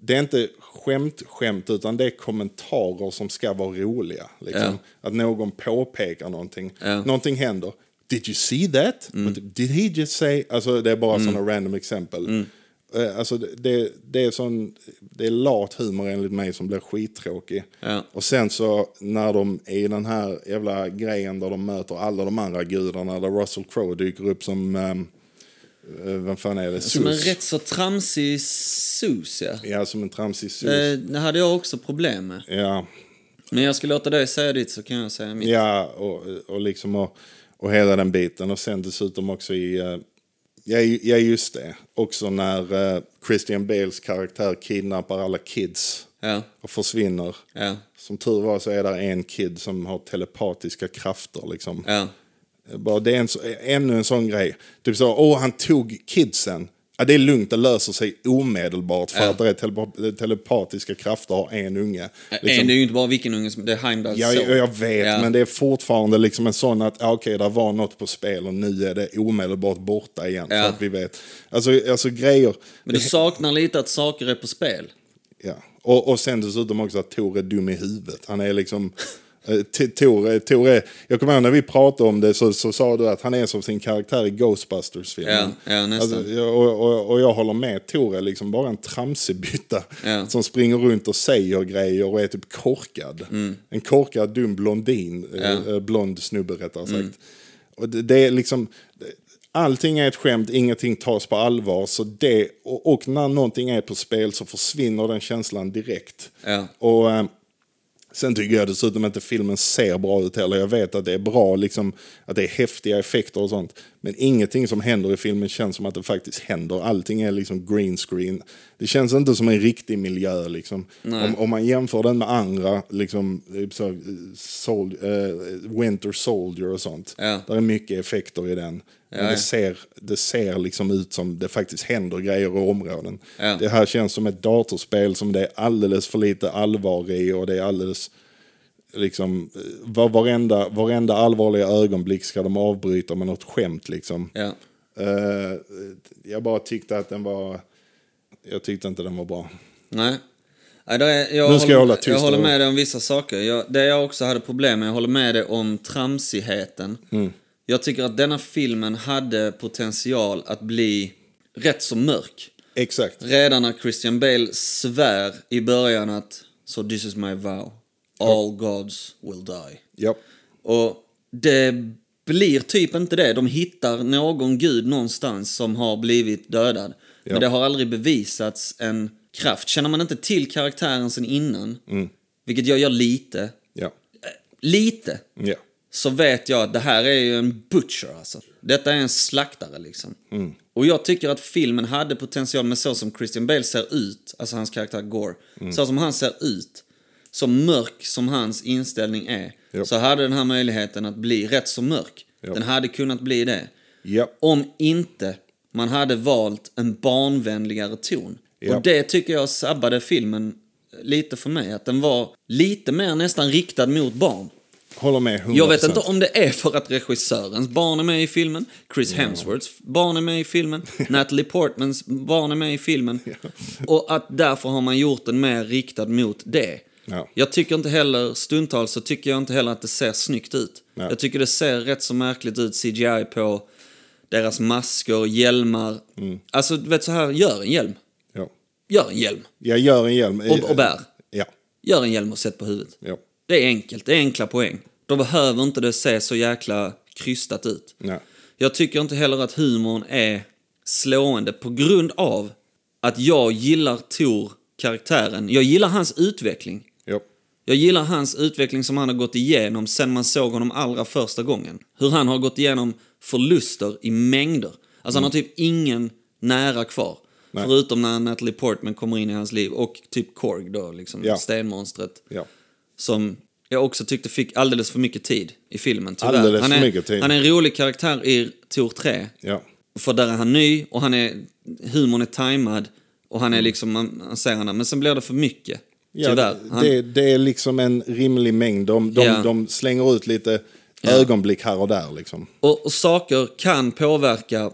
S2: Det är inte skämt-skämt utan det är kommentarer som ska vara roliga. Liksom. Att någon påpekar någonting.
S1: Ja. Mm.
S2: Någonting händer. Did you see that? Och typ, Did he just say? Alltså det är bara sådana random exempel.
S1: Mm.
S2: Eh, Alltså det- det, det är sån, det är lat humor enligt mig som blir skittråkig.
S1: Ja.
S2: Och sen så när de är i den här jävla grejen där de möter alla de andra gudarna där Russell Crowe dyker upp som, ehm, eh, vem fan är det?
S1: Som en
S2: Sus.
S1: rätt så tramsig sus, ja.
S2: Ja, som en tramsig sus.
S1: Eh, Det hade jag också problem med.
S2: Ja,
S1: Men jag ska låta dig säga ditt så kan jag säga mitt.
S2: Ja, och, och liksom och, och hela den biten. Och sen dessutom också i... eh, Ja, ju- ja just det. Också när eh, Christian Bales karaktär kidnappar alla kids
S1: Ja.
S2: och försvinner.
S1: Ja.
S2: Som tur var så är det en kid som har telepatiska krafter. Liksom.
S1: Ja. Eh,
S2: Bara det är en, så- ännu en sån grej. Typ så, åh han tog kidsen. Ja, det är lugnt, det löser sig omedelbart för
S1: Ja.
S2: att det är telepa- telepatiska krafter har en unge. Liksom.
S1: En, det är ju inte bara vilken unge som... Det är Heimdall
S2: Ja, jag, jag vet,
S1: Ja.
S2: men det är fortfarande liksom en sån att ah, okej, där var något på spel och nu är det omedelbart borta igen.
S1: Ja.
S2: För att vi vet. Alltså, alltså grejer.
S1: Men du saknar lite att saker är på spel.
S2: Ja. Och, och sen dessutom också att Tor är dum i huvudet. Han är liksom... eh, T- Tor, är- Tor är, jag kommer ihåg när vi pratade om det så, så sa du att han är som sin karaktär i Ghostbusters-filmen.
S1: Ja, ja, nästan.
S2: Alltså, jag- och, och, och jag håller med, Tor är liksom bara en tramsebytta
S1: Ja.
S2: som springer runt och säger grejer och är typ korkad. En korkad, dum blondin, eh, eh, blond snubbe rättare sagt. Och det, det är liksom... Allting är ett skämt, ingenting tas på allvar. Så det, och, och när någonting är på spel så försvinner den känslan direkt.
S1: Ja.
S2: Och eh, Sen tycker jag dessutom inte filmen ser bra ut heller. Jag vet att det är bra, liksom, att det är häftiga effekter och sånt. Men ingenting som händer i filmen känns som att det faktiskt händer. Allting är liksom green screen. Det känns inte som en riktig miljö. Liksom. Om, om man jämför den med andra, liksom, eh, så, eh, sol, eh, Winter Soldier och sånt.
S1: Ja.
S2: Där är mycket effekter i den. Men
S1: Ja, ja.
S2: det ser, det ser liksom ut som det faktiskt händer grejer och områden.
S1: Ja.
S2: Det här känns som ett datorspel som det är alldeles för lite allvar i och det är alldeles... Liksom, eh, var, varenda, varenda allvarliga ögonblick ska de avbryta med något skämt liksom.
S1: Ja.
S2: Eh, jag bara tyckte att den var... Jag tyckte inte den var bra.
S1: Nej. Nej, där är, jag,
S2: Nu ska jag hålla tyst
S1: jag håller
S2: då.
S1: med dig om vissa saker. Jag, det jag också hade problem med, jag håller med dig om tramsigheten.
S2: Mm.
S1: Jag tycker att denna filmen hade potential att bli rätt så mörk.
S2: Exakt.
S1: Redan när Christian Bale svär i början att So this is my vow. All gods will die.
S2: Ja.
S1: Och det blir typ inte det. De hittar någon gud någonstans som har blivit dödad. Men
S2: Ja.
S1: det har aldrig bevisats en kraft. Känner man inte till karaktären sen innan, vilket jag gör lite, eh,
S2: Ja.
S1: lite,
S2: Ja.
S1: så vet jag att det här är ju en butcher alltså. Detta är en slaktare liksom. Och jag tycker att filmen hade potential med så som Christian Bale ser ut, alltså hans karaktär Gore, så som han ser ut, så mörk som hans inställning är,
S2: Japp.
S1: så hade den här möjligheten att bli rätt så mörk.
S2: Japp.
S1: Den hade kunnat bli det.
S2: Ja.
S1: Om inte man hade valt en barnvänligare ton.
S2: Ja.
S1: Och det tycker jag sabbade filmen lite för mig. Att den var lite mer nästan riktad mot barn.
S2: Håller med 100%.
S1: Jag vet inte om det är för att regissörens barn är med i filmen, Chris Hemsworths barn är med i filmen, Natalie Portmans barn är med i filmen. Och att därför har man gjort den mer riktad mot det.
S2: Ja.
S1: Jag tycker inte heller, stundtals så tycker jag inte heller att det ser snyggt ut.
S2: Nej.
S1: Jag tycker det ser rätt så märkligt ut, CGI på deras masker, hjälmar.
S2: Mm.
S1: Alltså, du vet så här, gör en hjälm.
S2: Ja.
S1: Gör en hjälm.
S2: Jag gör en hjälm.
S1: Och- och bär.
S2: Ja.
S1: Gör en hjälm och sätt på huvudet.
S2: Ja.
S1: Det är enkelt, det är enkla poäng. Då behöver inte det se så jäkla krystat ut.
S2: Nej.
S1: Jag tycker inte heller att humorn är slående på grund av att jag gillar Tor karaktären. Jag gillar hans utveckling.
S2: Ja.
S1: Jag gillar hans utveckling som han har gått igenom sen man såg honom allra första gången. Hur han har gått igenom förluster i mängder. Alltså han har typ ingen nära kvar.
S2: Nej.
S1: Förutom när Natalie Portman kommer in i hans liv och typ Korg då, liksom
S2: Ja.
S1: stenmonstret
S2: Ja.
S1: som jag också tyckte fick alldeles för mycket tid i filmen. Tyvärr.
S2: Alldeles
S1: han
S2: för
S1: är,
S2: mycket tid.
S1: Han är en rolig karaktär i Tor 3.
S2: Ja.
S1: För där är han ny och han är, humorn är tajmad. Och han är liksom, man, man ser honom. Men sen blir det för mycket.
S2: Ja,
S1: tyvärr. Han,
S2: det, det är liksom en rimlig mängd. De, de,
S1: Ja.
S2: de slänger ut lite ögonblick här och där. Liksom.
S1: och, och saker kan påverka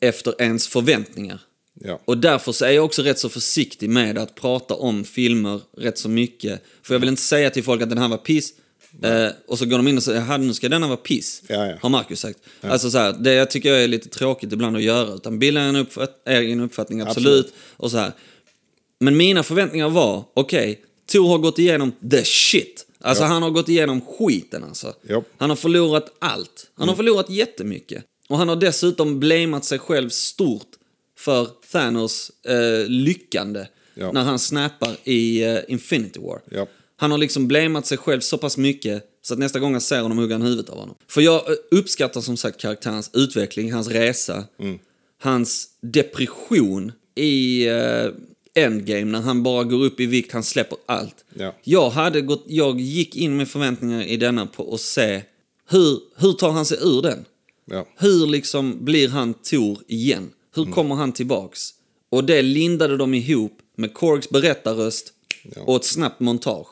S1: efter ens förväntningar.
S2: Ja.
S1: Och därför så är jag också rätt så försiktig med att prata om filmer rätt så mycket. För jag vill inte säga till folk att den här var piss. Eh, och så går de in och säger att nu ska denna vara piss.
S2: Ja, ja.
S1: Har Marcus sagt. Alltså så här, det jag tycker jag är lite tråkigt ibland att göra. Utan bilda en uppfatt- egen uppfattning, absolut.
S2: Absolut.
S1: Och så här. Men mina förväntningar var, okej, Tor har gått igenom the shit. Alltså han har gått igenom skiten alltså.
S2: Ja. Mm.
S1: Han har förlorat allt. Han har förlorat jättemycket. Och han har dessutom blamat sig själv stort för Thanos eh, lyckande
S2: Ja.
S1: när han snappar i eh, Infinity War.
S2: Ja.
S1: Han har liksom blamat sig själv så pass mycket så att nästa gång jag ser honom hugger han huvudet av honom. För jag eh, uppskattar som sagt karaktärens utveckling, hans resa, hans depression i eh, Endgame när han bara går upp i vikt, han släpper allt.
S2: Ja.
S1: Jag, hade gått, jag gick in med förväntningar i denna på att se hur, hur tar han sig ur den?
S2: Ja.
S1: Hur liksom blir han Tor igen? Hur
S2: Mm.
S1: kommer han tillbaks? Och det lindade de ihop med Korgs berättarröst
S2: Ja.
S1: och ett snabbt montage.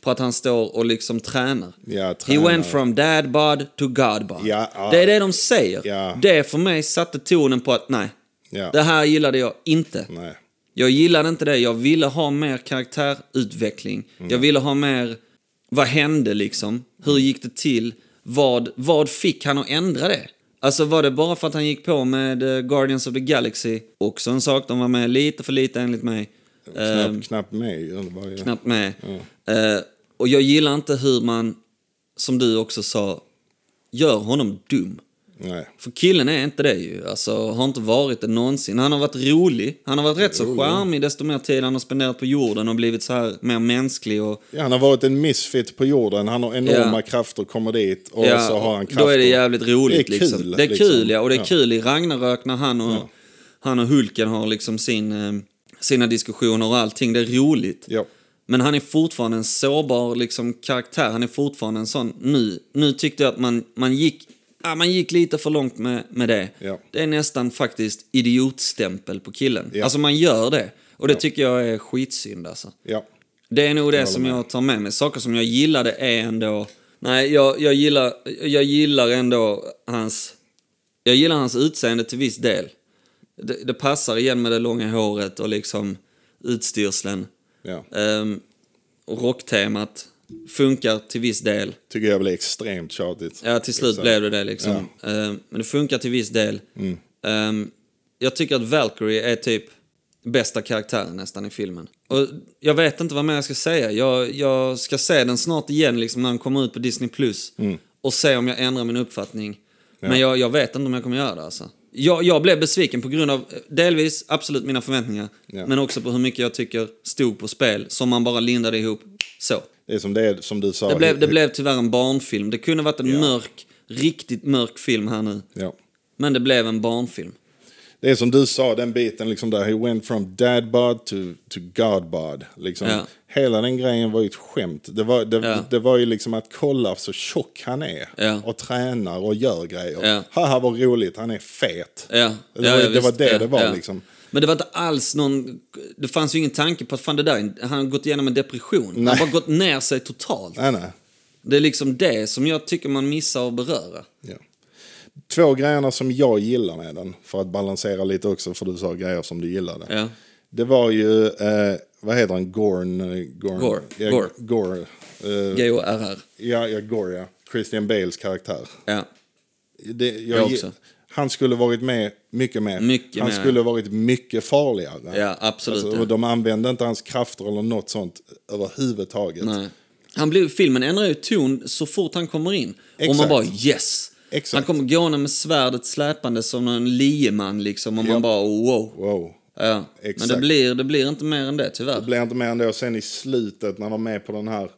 S1: På att han står och liksom tränar.
S2: Ja,
S1: He
S2: tränar.
S1: went from dad bod to god bod.
S2: Ja, ja.
S1: Det är det de säger.
S2: Ja.
S1: Det för mig satte tonen på att nej,
S2: Ja. Mm.
S1: det här gillade jag inte.
S2: Nej.
S1: Jag gillade inte det. Jag ville ha mer karaktärutveckling. Jag ville ha mer... Vad hände liksom? Hur gick det till? Vad, vad fick han att ändra det? Alltså var det bara för att han gick på med eh, Guardians of the Galaxy? Också en sak, de var med lite för lite enligt mig.
S2: Knappt
S1: Ehm.
S2: knappt med. ju. Det var ju-
S1: Knappt med. Eh, och jag gillar inte hur man, som du också sa, gör honom dum.
S2: Nej.
S1: För killen är inte det ju. Alltså, har inte varit det någonsin. Han har varit rolig. Han har varit rätt så charmig desto mer tid han har spenderat på jorden och blivit så här mer mänsklig och...
S2: Ja, han har varit en misfit på jorden. Han har enorma
S1: Ja.
S2: krafter, kommer dit och
S1: Ja,
S2: så har han krafter.
S1: då är det jävligt roligt.
S2: Det är
S1: liksom.
S2: kul,
S1: Det är kul,
S2: liksom.
S1: ja. Och det är
S2: Ja.
S1: kul i Ragnarök när han och, han och Hulken har liksom sin, eh, sina diskussioner och allting. Det är roligt.
S2: Ja.
S1: Men han är fortfarande en sårbar liksom, karaktär. Han är fortfarande en sån... Nu, nu tyckte jag att man, man, gick, ja, man gick lite för långt med, med det.
S2: Ja.
S1: Det är nästan faktiskt idiotstämpel på killen.
S2: Ja.
S1: Alltså man gör det. Och det tycker jag är skitsynd alltså.
S2: ja.
S1: Det är nog det som
S2: med.
S1: jag tar med mig. Saker som jag gillade är ändå... Nej, jag, jag, gillar, jag gillar ändå hans... Jag gillar hans utseende till viss del. Det, det passar igen med det långa håret och liksom utstyrseln.
S2: Ja.
S1: Ehm, och rocktemat funkar till viss del.
S2: Tycker jag blir extremt tjatigt.
S1: Ja, till slut
S2: Liksom.
S1: blev det det liksom. Ehm, men det funkar till viss del. Ehm, jag tycker att Valkyrie är typ bästa karaktären nästan i filmen. Och jag vet inte vad mer jag ska säga. Jag, jag ska se den snart igen liksom när den kommer ut på Disney+. Plus Och se om jag ändrar min uppfattning. Men jag, jag vet inte om jag kommer göra det alltså. Jag, jag blev besviken på grund av eh, delvis absolut mina förväntningar.
S2: Ja.
S1: Men också på hur mycket jag tycker stod på spel som man bara lindade ihop så.
S2: Det är som, det, är, som du sa.
S1: Det blev, det blev tyvärr en barnfilm. Det kunde varit en mörk, riktigt mörk film här nu.
S2: Ja.
S1: Men det blev en barnfilm.
S2: Det är som du sa, den biten liksom där. He went from dad bod to, to god bod. Liksom.
S1: Ja.
S2: Hela den grejen var ju ett skämt. Det var, det,
S1: Ja.
S2: det var ju liksom att kolla så tjock han är.
S1: Ja.
S2: Och tränar och gör grejer.
S1: Ja.
S2: Haha vad roligt, han är fet.
S1: Ja, ja,
S2: Det var,
S1: ja,
S2: det, var
S1: visst.
S2: det
S1: Ja,
S2: det var
S1: ja.
S2: liksom.
S1: Men det var inte alls någon... Det fanns ju ingen tanke på att fan det där, är en- han har gått igenom en depression. Han
S2: Nej.
S1: har bara gått ner sig totalt.
S2: Nej, nej.
S1: Det är liksom det som jag tycker man missar att beröra.
S2: Ja. Två grejerna som jag gillar med den, för att balansera lite också, för du sa grejer som du gillade.
S1: Ja.
S2: Det var ju, eh, vad heter han, Gorn? eh, Gorn.
S1: Gore.
S2: Ja,
S1: Gore.
S2: Gore. Eh,
S1: G.O.R.R.
S2: ja, ja, Gore, ja. Christian Bales karaktär.
S1: Ja.
S2: Det, jag,
S1: Jag också.
S2: Han skulle varit med mycket mer.
S1: Mycket
S2: han
S1: mer.
S2: skulle varit mycket farligare.
S1: Ja, absolut,
S2: Alltså,
S1: ja.
S2: och de använde inte hans krafter eller något sånt överhuvudtaget.
S1: Nej. Han blev, filmen ändrar ju ton så fort han kommer in. Och man
S2: Exakt.
S1: bara yes!
S2: Exakt.
S1: Han kommer gående med svärdet släpande som en lieman liksom. Och
S2: Ja.
S1: man bara wow.
S2: Wow.
S1: Ja. Men det
S2: Exakt.
S1: blir, det blir inte mer än det tyvärr.
S2: Det blir inte mer än det. Och sen i slutet när de är med på den här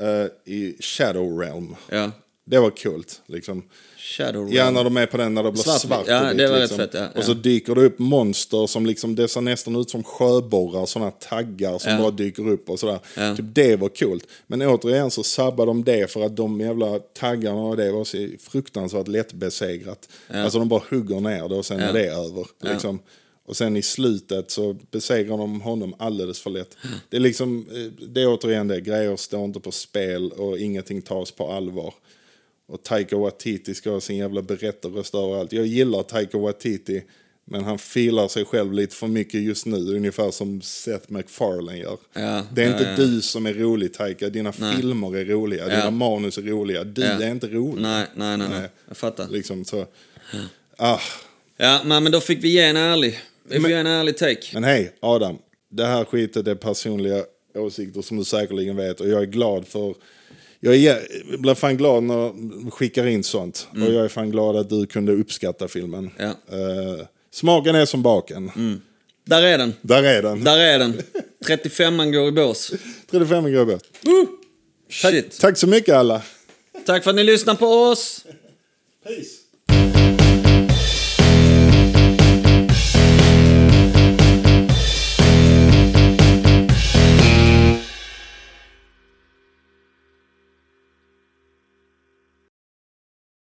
S2: eh, i Shadow Realm.
S1: Ja.
S2: Det var kul. Liksom.
S1: Shadow
S2: Ja,
S1: Realm.
S2: när de är på den, när det blir
S1: Svart-
S2: svart,
S1: ja,
S2: och vitt,
S1: det var rätt
S2: liksom.
S1: fett, ja, ja.
S2: Och så dyker det upp monster som liksom, det ser nästan ut som sjöborrar, sådana taggar som
S1: Ja.
S2: bara dyker upp och sådär.
S1: Ja.
S2: Typ det var kul. Men återigen så sabbar de det för att de jävla taggarna och det var så fruktansvärt lättbesegrat. Alltså de bara hugger ner det och sen är det över. Liksom. Och sen i slutet så besegrar de honom alldeles för lätt. Det är liksom, eh, det är återigen det, grejer står inte på spel och ingenting tas på allvar. Och Taika Waititi ska ha sin jävla berättarröst överallt. Jag gillar Taika Waititi, men han filar sig själv lite för mycket just nu. Ungefär som Seth MacFarlane gör.
S1: Ja,
S2: det är
S1: ja,
S2: inte
S1: ja.
S2: du som är rolig Taika, dina filmer är roliga, dina manus är roliga. Du
S1: Ja.
S2: är inte rolig.
S1: Nej, nej, nej, nej.
S2: Nej.
S1: Jag fattar.
S2: Liksom så. Ah.
S1: Ja, men men då fick vi ge en ärlig. Vi får ge en ärlig take.
S2: Men hej, Adam. Det här skitet är personliga åsikter som du säkerligen vet och jag är glad för... Jag är, jag blir fan glad när de skickar in sånt. Och jag är fan glad att du kunde uppskatta filmen.
S1: Mm. Ja.
S2: Eh, smaken är som baken.
S1: Där är den.
S2: Där är den.
S1: Där är den. 35an går i bås.
S2: 35 grabbar.
S1: Shit.
S2: Tack så mycket alla.
S1: Tack för att ni lyssnar på oss.
S2: Peace.